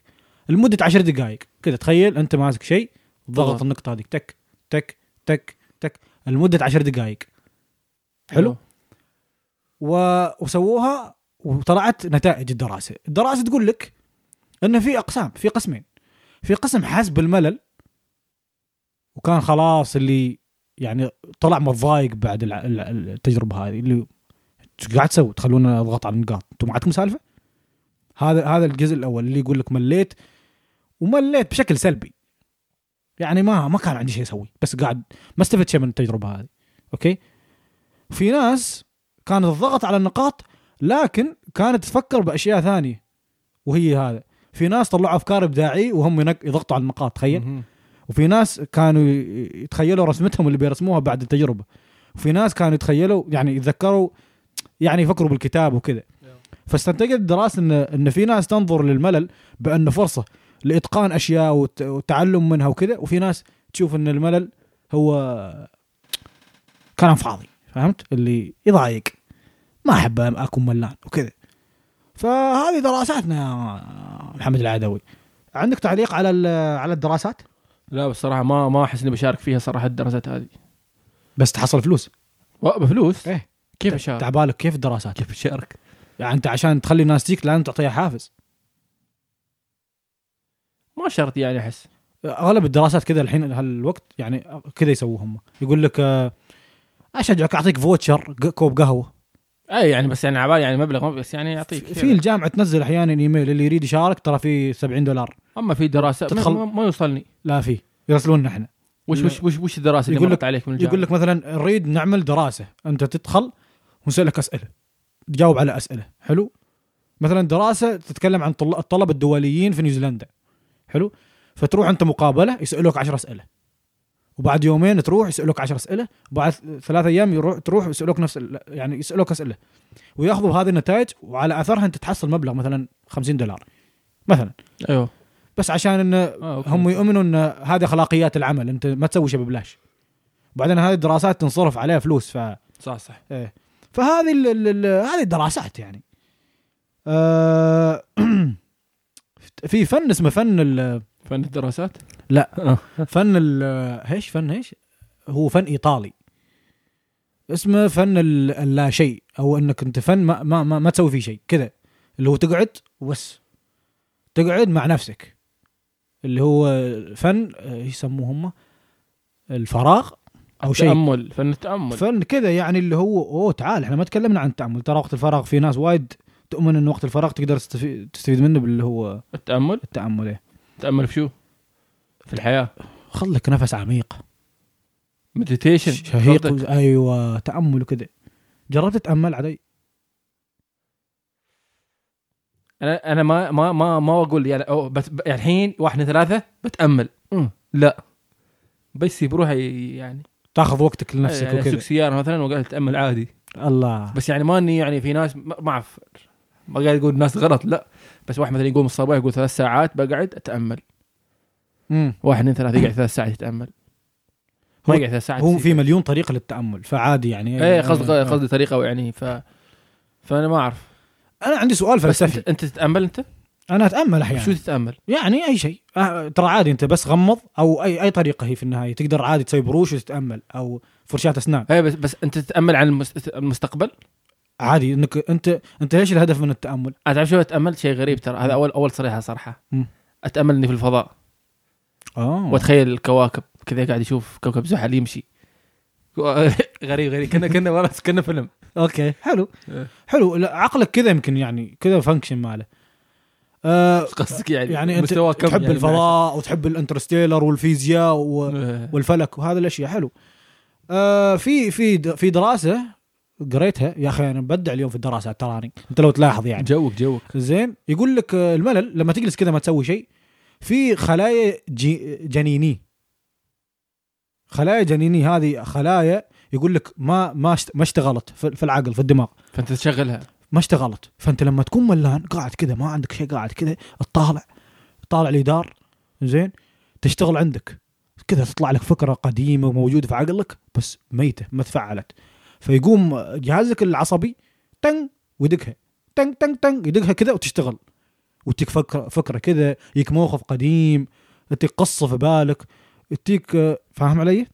Speaker 1: لمدة عشر دقائق كذا تخيل انت ماسك شيء ضغط
Speaker 2: تمام.
Speaker 1: النقطة هذيك تك تك تك تك لمدة عشر دقائق
Speaker 2: أيوه.
Speaker 1: حلو. و... وسووها وطلعت نتائج الدراسة الدراسة تقول لك ان في اقسام في قسمين في قسم حس بالملل وكان خلاص اللي يعني طلع متضايق بعد الع- الع- التجربة هذه اللي ايش قاعد تسوي تخلونا نضغط على النقاط انتم ما عندكم سالفه هذا هذا الجزء الاول اللي يقول لك مليت ومليت بشكل سلبي يعني ما ما كان عندي شيء اسوي بس قاعد ما استفدت شيء من التجربه هذه اوكي في ناس كانت الضغط على النقاط لكن كانت تفكر باشياء ثانيه وهي هذا في ناس طلعوا افكار ابداعيه وهم ينق- يضغطوا على النقاط تخيل
Speaker 2: مهم.
Speaker 1: وفي ناس كانوا ي- يتخيلوا رسمتهم اللي بيرسموها بعد التجربه وفي ناس كانوا يتخيلوا يعني يتذكروا يعني يفكروا بالكتاب وكذا فاستنتجت الدراسه ان ان في ناس تنظر للملل بانه فرصه لاتقان اشياء وت- والتعلم منها وكذا وفي ناس تشوف ان الملل هو كلام فاضي فهمت اللي يضايق ما احب اكون ملان وكذا فهذه دراساتنا يا محمد العدوي عندك تعليق على ال- على الدراسات
Speaker 2: لا بس صراحه ما ما احس اني بشارك فيها صراحه الدراسات هذه
Speaker 1: بس تحصل فلوس
Speaker 2: و- بفلوس
Speaker 1: إيه.
Speaker 2: كيف اشارك؟
Speaker 1: تعبالك كيف الدراسات
Speaker 2: كيف اشارك؟
Speaker 1: يعني انت عشان تخلي الناس تجيك لازم تعطيها حافز
Speaker 2: ما شرط يعني احس
Speaker 1: اغلب الدراسات كذا الحين هالوقت يعني كذا يسووه هم يقول لك آه، اشجعك اعطيك فوتشر ق- كوب قهوه
Speaker 2: اي يعني بس يعني عبالي يعني مبلغ مبلغ، بس يعني يعطيك
Speaker 1: في الجامعه تنزل احيانا ايميل اللي يريد يشارك ترى في 70 دولار
Speaker 2: اما في دراسه
Speaker 1: تدخل-
Speaker 2: تدخل... ما, ما يوصلني
Speaker 1: لا في يرسلون احنا
Speaker 2: وش
Speaker 1: لا.
Speaker 2: وش وش, وش الدراسه اللي
Speaker 1: يقول
Speaker 2: يقول
Speaker 1: لك-
Speaker 2: لك عليك من الجامعه
Speaker 1: يقول لك مثلا نريد نعمل دراسه انت تدخل ونسالك اسئله تجاوب على اسئله حلو مثلا دراسه تتكلم عن طل- الطلبه الدوليين في نيوزيلندا حلو فتروح انت مقابله يسالوك 10 اسئله وبعد يومين تروح يسالوك 10 اسئله وبعد ثلاث ايام يروح تروح يسالوك نفس ال- يعني يسالوك اسئله وياخذوا هذه النتائج وعلى اثرها انت تحصل مبلغ مثلا 50 دولار مثلا
Speaker 2: ايوه
Speaker 1: بس عشان انه
Speaker 2: آه، أوكي.
Speaker 1: هم يؤمنوا ان هذه اخلاقيات العمل انت ما تسوي شيء ببلاش وبعدين هذه الدراسات تنصرف عليها فلوس ف
Speaker 2: صح صح
Speaker 1: إيه. فهذه ال... ال... ال... هذه الدراسات يعني آه... في فن اسمه فن ال...
Speaker 2: فن الدراسات
Speaker 1: لا
Speaker 2: آه.
Speaker 1: فن ال... ايش فن ايش هو فن ايطالي اسمه فن ال- اللا شيء او انك انت فن ما ما ما, ما تسوي فيه شيء كذا اللي هو تقعد وبس تقعد مع نفسك اللي هو فن آه، يسموه هم الفراغ او شيء
Speaker 2: تامل فن التامل
Speaker 1: فن كذا يعني اللي هو اوه تعال احنا ما تكلمنا عن التامل ترى وقت الفراغ في ناس وايد تؤمن ان وقت الفراغ تقدر تستفي- تستفيد منه باللي هو
Speaker 2: التامل
Speaker 1: التامل إيه.
Speaker 2: التامل في شو؟ في الحياه
Speaker 1: خذ لك نفس عميق
Speaker 2: مديتيشن
Speaker 1: شهيق ايوه تامل وكذا جربت تتامل علي
Speaker 2: انا انا ما ما ما ما اقول يعني أو بس ب- يعني الحين واحد اثنين ثلاثه بتامل
Speaker 1: مم.
Speaker 2: لا بس بروحي يعني
Speaker 1: تاخذ وقتك لنفسك
Speaker 2: يعني اسوق
Speaker 1: وكذا
Speaker 2: سياره مثلا وقاعد اتامل عادي
Speaker 1: الله
Speaker 2: بس يعني ما اني يعني في ناس ما ما اعرف ما قاعد اقول ناس غلط لا بس واحد مثلا يقوم الصباح يقول ثلاث ساعات بقعد اتامل
Speaker 1: مم.
Speaker 2: واحد اثنين ثلاثه يقعد ثلاث ساعات يتامل
Speaker 1: هو-
Speaker 2: هو يقعد ثلاث ساعات
Speaker 1: هو في مليون طريقه للتامل فعادي يعني
Speaker 2: اي قصد قصدي طريقه يعني ف فانا ما اعرف
Speaker 1: انا عندي سؤال
Speaker 2: بس
Speaker 1: فلسفي يعني.
Speaker 2: انت, انت تتامل انت؟
Speaker 1: انا اتامل احيانا
Speaker 2: شو تتامل؟
Speaker 1: يعني اي شيء آه، ترى عادي انت بس غمض او اي اي طريقه هي في النهايه تقدر عادي تسوي بروش وتتامل او فرشاه اسنان
Speaker 2: اي إيه، بس بس انت تتامل عن المس- المستقبل؟
Speaker 1: عادي انك انت انت ايش الهدف من التامل؟
Speaker 2: انا تعرف شو اتامل شيء غريب ترى هذا اول اول صريحه صراحه
Speaker 1: مم.
Speaker 2: اتامل اني في الفضاء
Speaker 1: اه
Speaker 2: واتخيل الكواكب كذا قاعد يشوف كوكب زحل يمشي غريب غريب كنا كنا والله كنا فيلم
Speaker 1: اوكي حلو
Speaker 2: إيه.
Speaker 1: حلو لا، عقلك كذا يمكن يعني كذا فانكشن ماله آه
Speaker 2: قصدك يعني
Speaker 1: يعني انت
Speaker 2: مستوى كم
Speaker 1: تحب
Speaker 2: يعني
Speaker 1: الفضاء وتحب الانترستيلر والفيزياء و...
Speaker 2: معك؟
Speaker 1: والفلك وهذا الاشياء حلو آه في في د- في دراسه قريتها يا اخي انا مبدع اليوم في الدراسات تراني انت لو تلاحظ يعني
Speaker 2: جوك جوك
Speaker 1: زين يقول لك آه، الملل لما تجلس كذا ما تسوي شيء في خلايا جي جنيني خلايا جنيني هذه خلايا يقول لك ما ما اشت- ما اشتغلت في في العقل في الدماغ
Speaker 2: فانت تشغلها
Speaker 1: ما اشتغلت فانت لما تكون ملان قاعد كذا ما عندك شيء قاعد كذا تطالع تطالع الجدار زين تشتغل عندك كذا تطلع لك فكره قديمه موجوده في عقلك بس ميته ما تفعلت فيقوم جهازك العصبي تن ويدقها تن تن تن يدقها كذا وتشتغل وتجيك فكره فكره كذا يجيك موقف قديم تجيك قصه في بالك تجيك آه، فاهم علي؟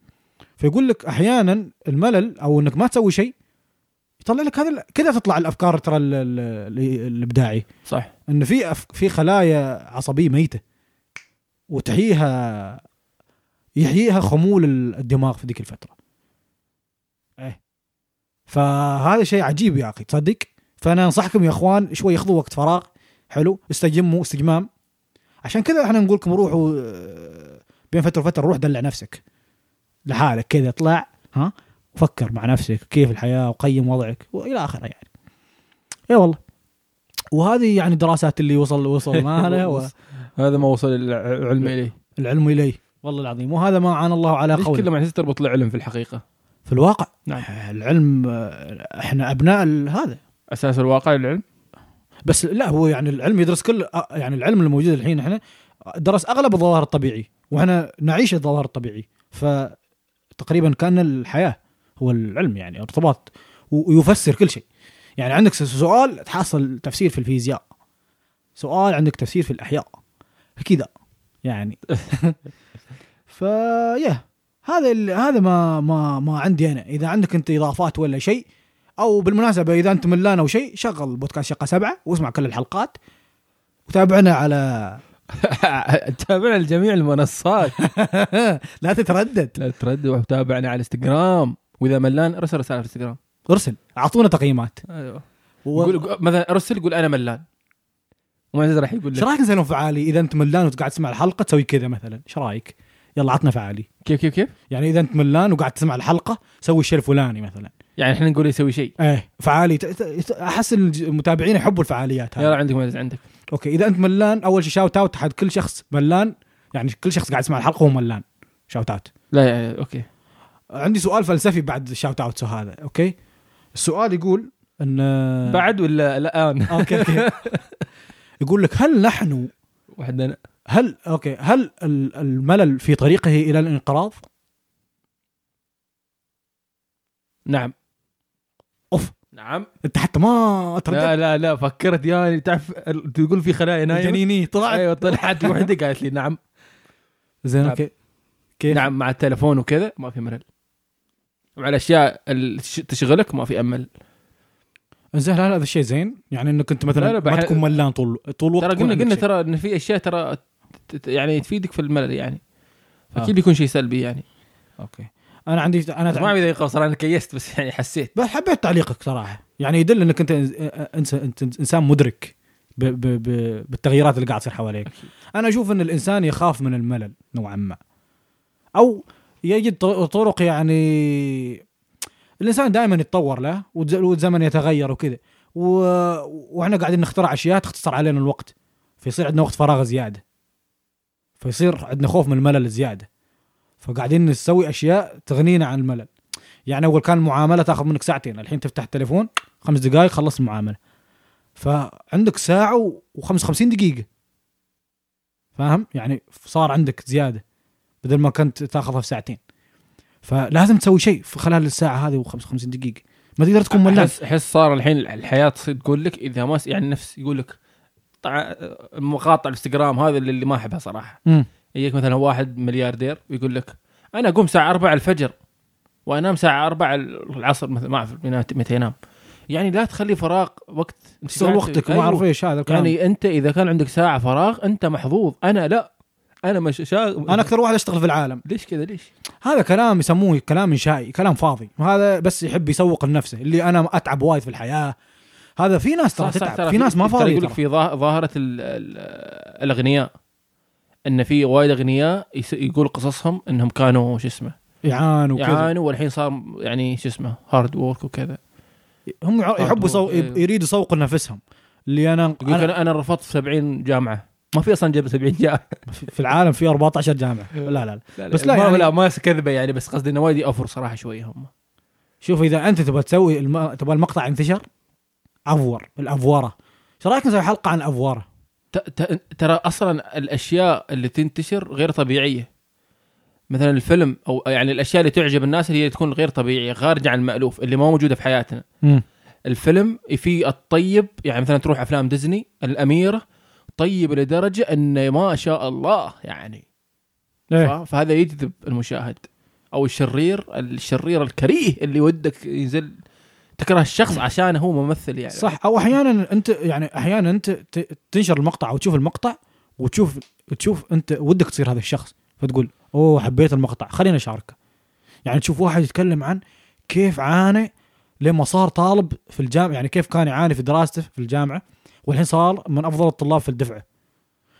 Speaker 1: فيقول لك احيانا الملل او انك ما تسوي شيء يطلع لك هذا ال- كذا تطلع الافكار ترى ال- ال- ال- الابداعي
Speaker 2: صح
Speaker 1: انه في أف... في خلايا عصبيه ميته وتحييها يحييها خمول ال- الدماغ في ذيك الفتره. ايه فهذا شيء عجيب يا اخي تصدق؟ فانا انصحكم يا اخوان شوي خذوا وقت فراغ حلو استجموا استجمام عشان كذا احنا نقول لكم روحوا آه، بين فتره وفتره روح دلع نفسك لحالك كذا اطلع ها فكر مع نفسك كيف الحياه وقيم وضعك والى اخره يعني. اي والله وهذه يعني دراسات اللي وصل وصلنا لها و...
Speaker 2: هذا ما وصل العلم اليه
Speaker 1: العلم اليه والله العظيم وهذا ما عان الله على
Speaker 2: ليش
Speaker 1: قوله
Speaker 2: كل ما عزيز تربط له علم في الحقيقه
Speaker 1: في الواقع
Speaker 2: نعم.
Speaker 1: العلم آه، احنا ابناء ال- هذا
Speaker 2: اساس الواقع العلم
Speaker 1: بس لا هو يعني العلم يدرس كل آه، يعني العلم الموجود الحين احنا درس اغلب الظواهر الطبيعي واحنا نعيش الظواهر الطبيعي فتقريبا كان الحياه هو العلم يعني ارتباط و- ويفسر كل شيء يعني عندك س- سؤال تحصل تفسير في الفيزياء سؤال عندك تفسير في الاحياء كذا يعني فيا هذا ال- هذا ما ما ما عندي انا اذا عندك انت اضافات ولا شيء او بالمناسبه اذا انت ملان او شيء شغل بودكاست شقه سبعه واسمع كل الحلقات وتابعنا على
Speaker 2: تابعنا لجميع المنصات
Speaker 1: لا تتردد
Speaker 2: لا تردد وتابعنا على انستغرام واذا ملان ارسل رساله في انستغرام
Speaker 1: ارسل اعطونا تقييمات
Speaker 2: ايوه
Speaker 1: و...
Speaker 2: قول قول- مثلا ارسل قول انا ملان ومعزز راح يقول
Speaker 1: ايش
Speaker 2: لك
Speaker 1: رايك نسوي فعالي اذا انت ملان وقاعد تسمع الحلقه تسوي كذا مثلا ايش رايك؟ يلا عطنا فعالي
Speaker 2: كيف كيف كيف
Speaker 1: يعني اذا انت ملان وقاعد تسمع الحلقه سوي الشيء الفلاني مثلا
Speaker 2: يعني احنا نقول يسوي شيء
Speaker 1: ايه فعالي ت- ت- احس إن الج- المتابعين يحبوا الفعاليات هذه
Speaker 2: يلا عندك معزز عندك
Speaker 1: اوكي اذا انت ملان اول شيء شاوت اوت حق كل شخص ملان يعني كل شخص قاعد يسمع الحلقه هو ملان شاوت اوت
Speaker 2: لا يعني اوكي
Speaker 1: عندي سؤال فلسفي بعد الشاوت اوتس هذا اوكي السؤال يقول ان
Speaker 2: بعد ولا الان
Speaker 1: اوكي اوكي يقول لك هل نحن
Speaker 2: وحدنا
Speaker 1: هل اوكي هل ال- الملل في طريقه الى الانقراض؟
Speaker 2: نعم
Speaker 1: أوف.
Speaker 2: نعم
Speaker 1: انت حتى ما ترددت
Speaker 2: لا لا لا فكرت يا تعرف تقول في خلايا نايمه
Speaker 1: جنيني طلعت
Speaker 2: ايوه طلعت وحده قالت لي نعم
Speaker 1: زين
Speaker 2: نعم.
Speaker 1: اوكي كيف؟
Speaker 2: نعم مع التلفون وكذا ما في ملل وعلى الاشياء اللي تش- تشغلك ما في امل
Speaker 1: زين لا لا هذا الشيء زين يعني انك انت
Speaker 2: لا،
Speaker 1: مثلا
Speaker 2: لا،
Speaker 1: ما
Speaker 2: بح-
Speaker 1: تكون ملان طول طول الوقت
Speaker 2: ترى
Speaker 1: تكون عندك
Speaker 2: قلنا قلنا
Speaker 1: شيء.
Speaker 2: ترى ان في اشياء ترى ت- ت- يعني تفيدك في الملل يعني
Speaker 1: آه.
Speaker 2: اكيد بيكون شيء سلبي يعني
Speaker 1: اوكي انا عندي انا
Speaker 2: ما ابي اذا صراحه انا كيست بس يعني حسيت
Speaker 1: بس حبيت تعليقك صراحه يعني يدل انك انت انس- انت انسان مدرك ب ب ب بالتغييرات اللي قاعد تصير حواليك
Speaker 2: أكيد.
Speaker 1: انا اشوف ان الانسان يخاف من الملل نوعا ما او يجد طر- طرق يعني الانسان دائما يتطور له والز- والزمن يتغير وكذا و... واحنا قاعدين نخترع اشياء تختصر علينا الوقت فيصير عندنا وقت فراغ زياده فيصير عندنا خوف من الملل زياده فقاعدين نسوي اشياء تغنينا عن الملل يعني اول كان معامله تاخذ منك ساعتين الحين تفتح التليفون خمس دقائق خلصت المعامله فعندك ساعه و55 دقيقه فاهم يعني صار عندك زياده بدل ما كنت تاخذها في ساعتين فلازم تسوي شيء في خلال الساعه هذه و55 دقيقه ما تقدر تكون ملان
Speaker 2: احس احس صار الحين الحياه تصير تقول لك اذا ما س- يعني نفس يقول لك طع- مقاطع الانستغرام هذا اللي اللي ما احبها صراحه
Speaker 1: مم.
Speaker 2: يجيك مثلا واحد ملياردير ويقول لك انا اقوم الساعه 4 الفجر وانام الساعه 4 العصر مثلا ما اعرف متى- متى ينام يعني لا تخلي فراغ وقت
Speaker 1: تشتغل وقتك ما
Speaker 2: أيوه.
Speaker 1: اعرف ايش هذا الكلام يعني
Speaker 2: يعني انت اذا كان عندك ساعه فراغ انت محظوظ انا لا انا مش شاغل
Speaker 1: انا اكثر واحد اشتغل في العالم
Speaker 2: ليش كذا ليش؟
Speaker 1: هذا كلام يسموه كلام انشائي كلام فاضي وهذا بس يحب يسوق لنفسه اللي انا اتعب وايد في الحياه هذا في ناس ترى تتعب في ناس ما
Speaker 2: ترى
Speaker 1: فاضيه
Speaker 2: يقول لك
Speaker 1: ترى.
Speaker 2: في ظاه- ظاهره ال- ال- الاغنياء ان في وايد اغنياء يس- يقول قصصهم انهم كانوا شو اسمه
Speaker 1: يعانوا وكذا
Speaker 2: يعانوا والحين صار يعني شو اسمه هارد وورك وكذا
Speaker 1: هم يع- يحبوا يسو...
Speaker 2: أيوه.
Speaker 1: يريدوا يسوقوا لنفسهم اللي انا
Speaker 2: يقول لك
Speaker 1: أنا
Speaker 2: انا, أنا رفضت 70 جامعه ما في اصلا جاب 70 جامعه
Speaker 1: في العالم في 14 جامعه
Speaker 2: إيه.
Speaker 1: لا لا, لا.
Speaker 2: بس لا, يعني لا ما كذبه يعني بس قصدي انه وايد يوفر صراحه شويه هم
Speaker 1: شوف اذا انت تبغى تسوي الم... تبغى المقطع ينتشر افور الافوره ايش رايك نسوي حلقه عن افوره
Speaker 2: ت- ت- ترى اصلا الاشياء اللي تنتشر غير طبيعيه مثلا الفيلم او يعني الاشياء اللي تعجب الناس اللي هي تكون غير طبيعيه خارجه عن المالوف اللي ما موجوده في حياتنا الفيلم في الطيب يعني مثلا تروح افلام ديزني الاميره طيب لدرجه انه ما شاء الله يعني
Speaker 1: ايه
Speaker 2: ف- فهذا يجذب المشاهد او الشرير الشرير الكريه اللي ودك ينزل تكره الشخص عشان هو ممثل يعني
Speaker 1: صح او احيانا انت يعني احيانا انت ت... تنشر المقطع او تشوف المقطع وتشوف تشوف انت ودك تصير هذا الشخص فتقول اوه حبيت المقطع خلينا اشاركه يعني تشوف واحد يتكلم عن كيف عانى لما صار طالب في الجامعه يعني كيف كان يعاني في دراسته في الجامعه والحين صار من افضل الطلاب في الدفعه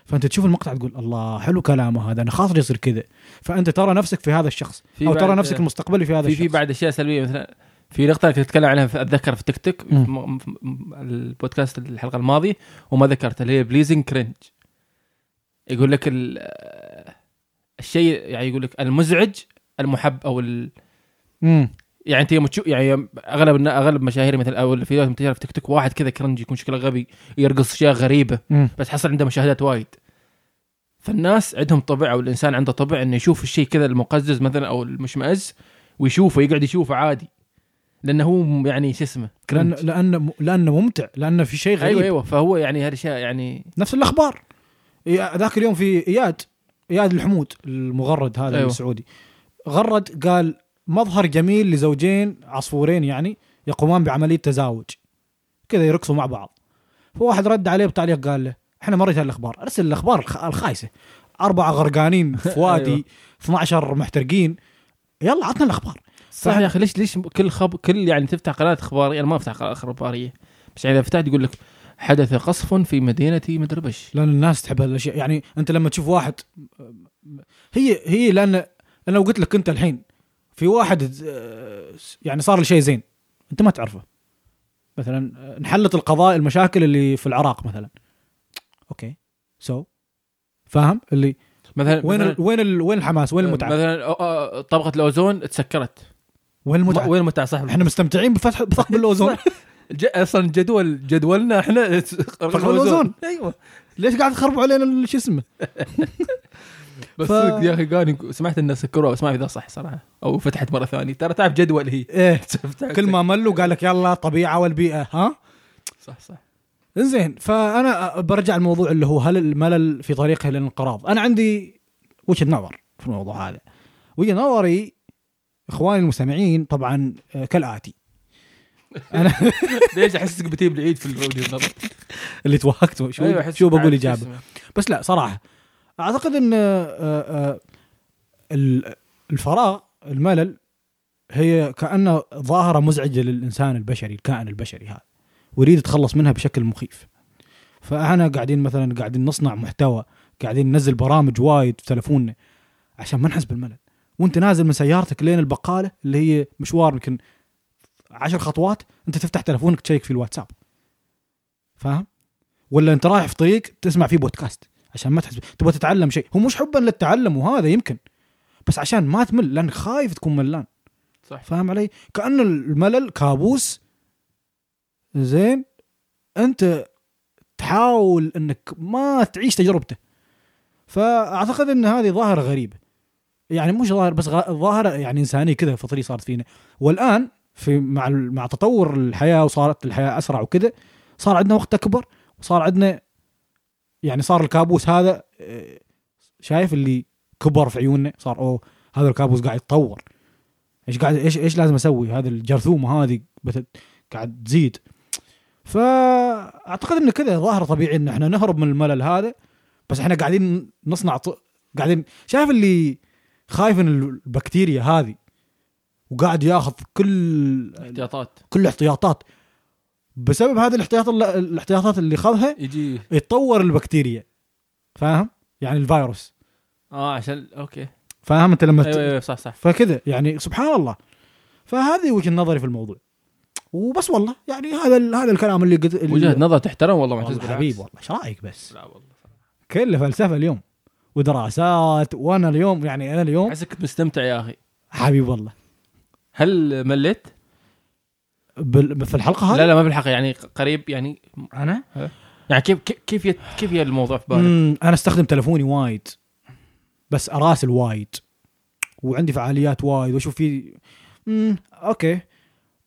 Speaker 1: فانت تشوف المقطع تقول الله حلو كلامه هذا انا خاطر يصير كذا فانت ترى نفسك في هذا الشخص
Speaker 2: في
Speaker 1: او ترى
Speaker 2: بعد-
Speaker 1: نفسك المستقبلي في هذا
Speaker 2: في
Speaker 1: الشخص
Speaker 2: في بعد اشياء سلبيه مثلا في نقطه كنت اتكلم عنها في اتذكر في تيك توك
Speaker 1: مم.
Speaker 2: في م- م- البودكاست الحلقه الماضيه وما ذكرت اللي هي بليزنج كرنج يقول لك ال- الشيء يعني يقول لك المزعج المحب او ال...
Speaker 1: امم
Speaker 2: يعني انت يوم تشوف يعني يوم- اغلب النا- اغلب مشاهير مثل او الفيديوهات منتشره في تيك توك واحد كذا كرنج يكون شكله غبي يرقص اشياء غريبه
Speaker 1: امم
Speaker 2: بس حصل عنده مشاهدات وايد فالناس عندهم طبع او الانسان عنده طبع انه يشوف الشيء كذا المقزز مثلا او المشمئز ويشوفه يقعد يشوفه عادي لانه هو يعني شو اسمه
Speaker 1: لان
Speaker 2: cringe.
Speaker 1: لانه لانه ممتع لانه في شيء غريب
Speaker 2: ايوه ايوه فهو يعني هالاشياء يعني
Speaker 1: نفس الاخبار إي- ذاك اليوم في اياد اياد الحمود المغرد هذا
Speaker 2: أيوة.
Speaker 1: أيوة. السعودي غرد قال مظهر جميل لزوجين عصفورين يعني يقومان بعمليه تزاوج كذا يرقصوا مع بعض فواحد رد عليه بتعليق قال له احنا مريت هالاخبار ارسل الاخبار الخ- الخايسه اربعه غرقانين في وادي
Speaker 2: أيوة.
Speaker 1: 12 محترقين يلا عطنا الاخبار
Speaker 2: صح يا اخي ليش ليش كل خب كل يعني تفتح قناه اخباريه انا ما افتح قناه اخباريه بس يعني اذا فتحت يقول لك حدث قصف في مدينه مدربش
Speaker 1: لان الناس تحب هالاشياء يعني انت لما تشوف واحد هي هي لان انا لو قلت لك انت الحين في واحد آه، يعني صار له شيء زين انت ما تعرفه مثلا آه، انحلت القضايا المشاكل اللي في العراق مثلا اوكي سو so. فاهم اللي
Speaker 2: مثلا
Speaker 1: وين
Speaker 2: مثلا
Speaker 1: ال وين ال وين الحماس وين المتعه
Speaker 2: مثلا أو- أو- طبقه الاوزون تسكرت
Speaker 1: وين المتعه
Speaker 2: وين المتعه صاحبي
Speaker 1: احنا مستمتعين بفتح بثقب الاوزون
Speaker 2: ج... اصلا جدول جدولنا احنا
Speaker 1: رقم الأوزون. أيوة.
Speaker 2: ايوه
Speaker 1: ليش قاعد تخربوا علينا ال- شو اسمه
Speaker 2: بس
Speaker 1: ف-
Speaker 2: صدق يا اخي قاني سمعت الناس سكروها بس ما اذا صح صراحه او فتحت مره ثانيه ترى تعرف جدول هي
Speaker 1: ايه كل ما ملوا قال لك يلا طبيعه والبيئه ها
Speaker 2: صح صح
Speaker 1: زين فانا برجع الموضوع اللي هو هل الملل في طريقه للانقراض؟ انا عندي وجهه نظر في الموضوع هذا. وجهه نظري اخواني المستمعين طبعا آه، كالاتي. انا
Speaker 2: ليش احسك بتجيب العيد في الفيديو النظر
Speaker 1: اللي توهقت شو
Speaker 2: أيوة،
Speaker 1: أيوة
Speaker 2: أحسك
Speaker 1: شو بقول
Speaker 2: تعرف
Speaker 1: اجابه
Speaker 2: اسمه.
Speaker 1: بس لا صراحه اعتقد ان آه، آه، ال- الفراغ الملل هي كانه ظاهره مزعجه للانسان البشري الكائن البشري هذا ويريد يتخلص منها بشكل مخيف فاحنا قاعدين مثلا قاعدين نصنع محتوى قاعدين ننزل برامج وايد في تلفوننا عشان ما نحس بالملل وانت نازل من سيارتك لين البقاله اللي هي مشوار يمكن عشر خطوات انت تفتح تلفونك تشيك في الواتساب فاهم ولا انت رايح في طريق تسمع فيه بودكاست عشان ما تحس تبغى تتعلم شيء هو مش حبا للتعلم وهذا يمكن بس عشان ما تمل لان خايف تكون ملان
Speaker 2: صح
Speaker 1: فاهم علي كأن الملل كابوس زين انت تحاول انك ما تعيش تجربته فاعتقد ان هذه ظاهره غريبه يعني مش ظاهر بس غ- ظاهره يعني انسانيه كذا فطري صارت فينا والان في مع ال- مع تطور الحياه وصارت الحياه اسرع وكذا صار عندنا وقت اكبر وصار عندنا يعني صار الكابوس هذا آه، شايف اللي كبر في عيوننا صار اوه هذا الكابوس قاعد يتطور ايش قاعد ايش ايش لازم اسوي هذا الجرثومه هذه بت- قاعد تزيد فاعتقد ان كذا ظاهره طبيعي ان احنا نهرب من الملل هذا بس احنا قاعدين نصنع ط... قاعدين شايف اللي خايف من البكتيريا هذه وقاعد ياخذ كل
Speaker 2: احتياطات
Speaker 1: كل الاحتياطات بسبب هذه الاحتياطات الاحتياطات اللي خذها
Speaker 2: يجي
Speaker 1: يتطور البكتيريا فاهم يعني الفيروس
Speaker 2: اه عشان اوكي
Speaker 1: فاهم انت لما
Speaker 2: ايوه
Speaker 1: ت...
Speaker 2: ايوه صح صح
Speaker 1: فكذا يعني سبحان الله فهذه وجهه نظري في الموضوع وبس والله يعني هذا ال... هذا الكلام اللي قد اللي-
Speaker 2: وجهه نظر تحترم والله معتز
Speaker 1: والله حبيب والله ايش رايك بس
Speaker 2: لا والله
Speaker 1: كله فلسفه اليوم ودراسات وانا اليوم يعني انا اليوم
Speaker 2: احسك كنت مستمتع يا اخي
Speaker 1: حبيب والله
Speaker 2: هل مليت؟
Speaker 1: بال... في الحلقه هذه
Speaker 2: لا لا ما بالحق يعني قريب يعني
Speaker 1: انا
Speaker 2: يعني كيف كيف- كيف يت- كيف يا الموضوع في بالك؟
Speaker 1: مم، انا استخدم تلفوني وايد بس اراسل وايد وعندي فعاليات وايد واشوف في مم، اوكي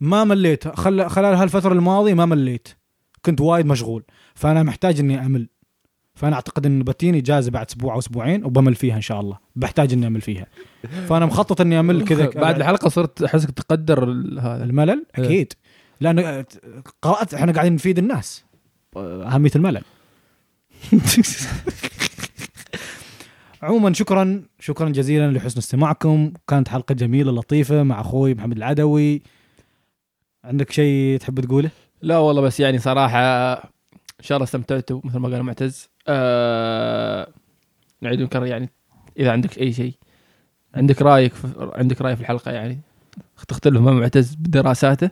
Speaker 1: ما مليت خل... خلال هالفتره الماضيه ما مليت كنت وايد مشغول فانا محتاج اني امل فانا اعتقد ان بتيني اجازه بعد اسبوع او اسبوعين وبمل فيها ان شاء الله بحتاج اني امل فيها فانا مخطط اني امل كذا
Speaker 2: بعد الحلقه صرت احسك تقدر ال- هذا
Speaker 1: الملل
Speaker 2: إيه.
Speaker 1: اكيد لانه آه، قرات احنا قاعدين نفيد الناس آه، اهميه الملل عموما شكرا شكرا جزيلا لحسن استماعكم كانت حلقه جميله لطيفه مع اخوي محمد العدوي عندك شيء تحب تقوله
Speaker 2: لا والله بس يعني صراحه ان شاء الله استمتعتوا مثل ما قال معتز آه نعيد ونكرر يعني اذا عندك اي شيء عندك رايك في عندك راي في الحلقه يعني تختلف مع معتز بدراساته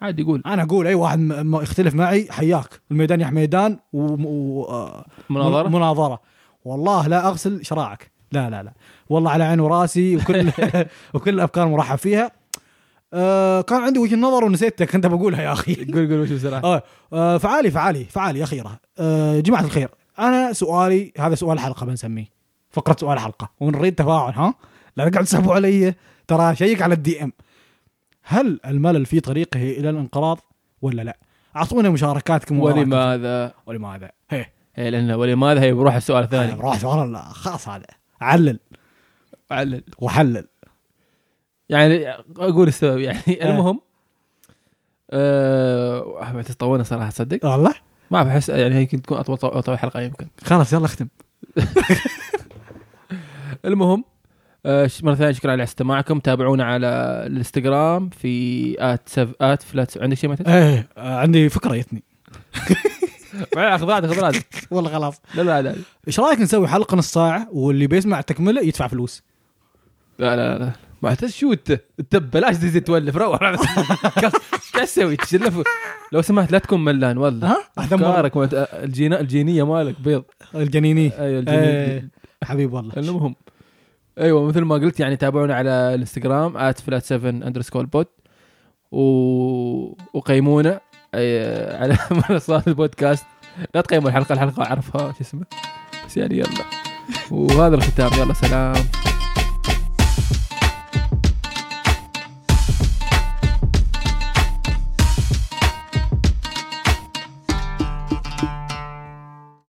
Speaker 2: عادي يقول
Speaker 1: انا اقول اي واحد م- م- يختلف معي حياك الميدان يا ميدان و... و... آه،
Speaker 2: مناظره
Speaker 1: مناظره والله لا اغسل شراعك لا لا لا والله على عين وراسي وكل وكل الافكار مرحب فيها آه كان عندي وجهه نظر ونسيتها كنت بقولها يا اخي
Speaker 2: قول قول وش بصراحه
Speaker 1: آه آه، فعالي فعالي فعالي اخيره آه جماعه الخير انا سؤالي هذا سؤال حلقه بنسميه فقره سؤال حلقه ونريد تفاعل ها لا تقعد تسحبوا علي ترى شيك على الدي ام هل الملل في طريقه الى الانقراض ولا لا؟ اعطونا مشاركاتكم وآرائكم.
Speaker 2: ولماذا؟
Speaker 1: ولماذا؟ هي
Speaker 2: إيه لان ولماذا هي بروح السؤال الثاني
Speaker 1: روح سؤال لا، خلاص هذا علل
Speaker 2: علل
Speaker 1: وحلل
Speaker 2: يعني اقول السبب يعني
Speaker 1: آه.
Speaker 2: المهم أه تطولنا صراحه تصدق
Speaker 1: والله
Speaker 2: ما أعرف، احس يعني يمكن تكون اطول اطول حلقه يمكن
Speaker 1: خلاص يلا اختم
Speaker 2: المهم آه، ش- مره ثانيه شكرا على استماعكم تابعونا على الانستغرام في ات سف ات فلات عندك شيء مثلا
Speaker 1: ايه آه، عندي فكره جتني
Speaker 2: خذ بعد خذ بعد
Speaker 1: والله خلاص
Speaker 2: لا لا لا
Speaker 1: ايش رايك نسوي حلقه نص ساعه واللي بيسمع التكمله يدفع فلوس
Speaker 2: لا لا لا ما تس- شو انت انت ببلاش ديزي تولف روح ايش تسوي تشلف لو سمحت لا تكون ملان والله
Speaker 1: ها احذر
Speaker 2: افكارك مت- الجينا الجينيه مالك بيض
Speaker 1: الجنيني
Speaker 2: ايوه الجينيه
Speaker 1: ايه حبيب والله
Speaker 2: المهم ايوه مثل ما قلت يعني تابعونا على الانستغرام فلات 7 اندرسكول بود و... وقيمونا أي- على منصات البودكاست لا تقيموا الحلقه الحلقه اعرفها شو اسمه بس يعني يلا وهذا الختام يلا سلام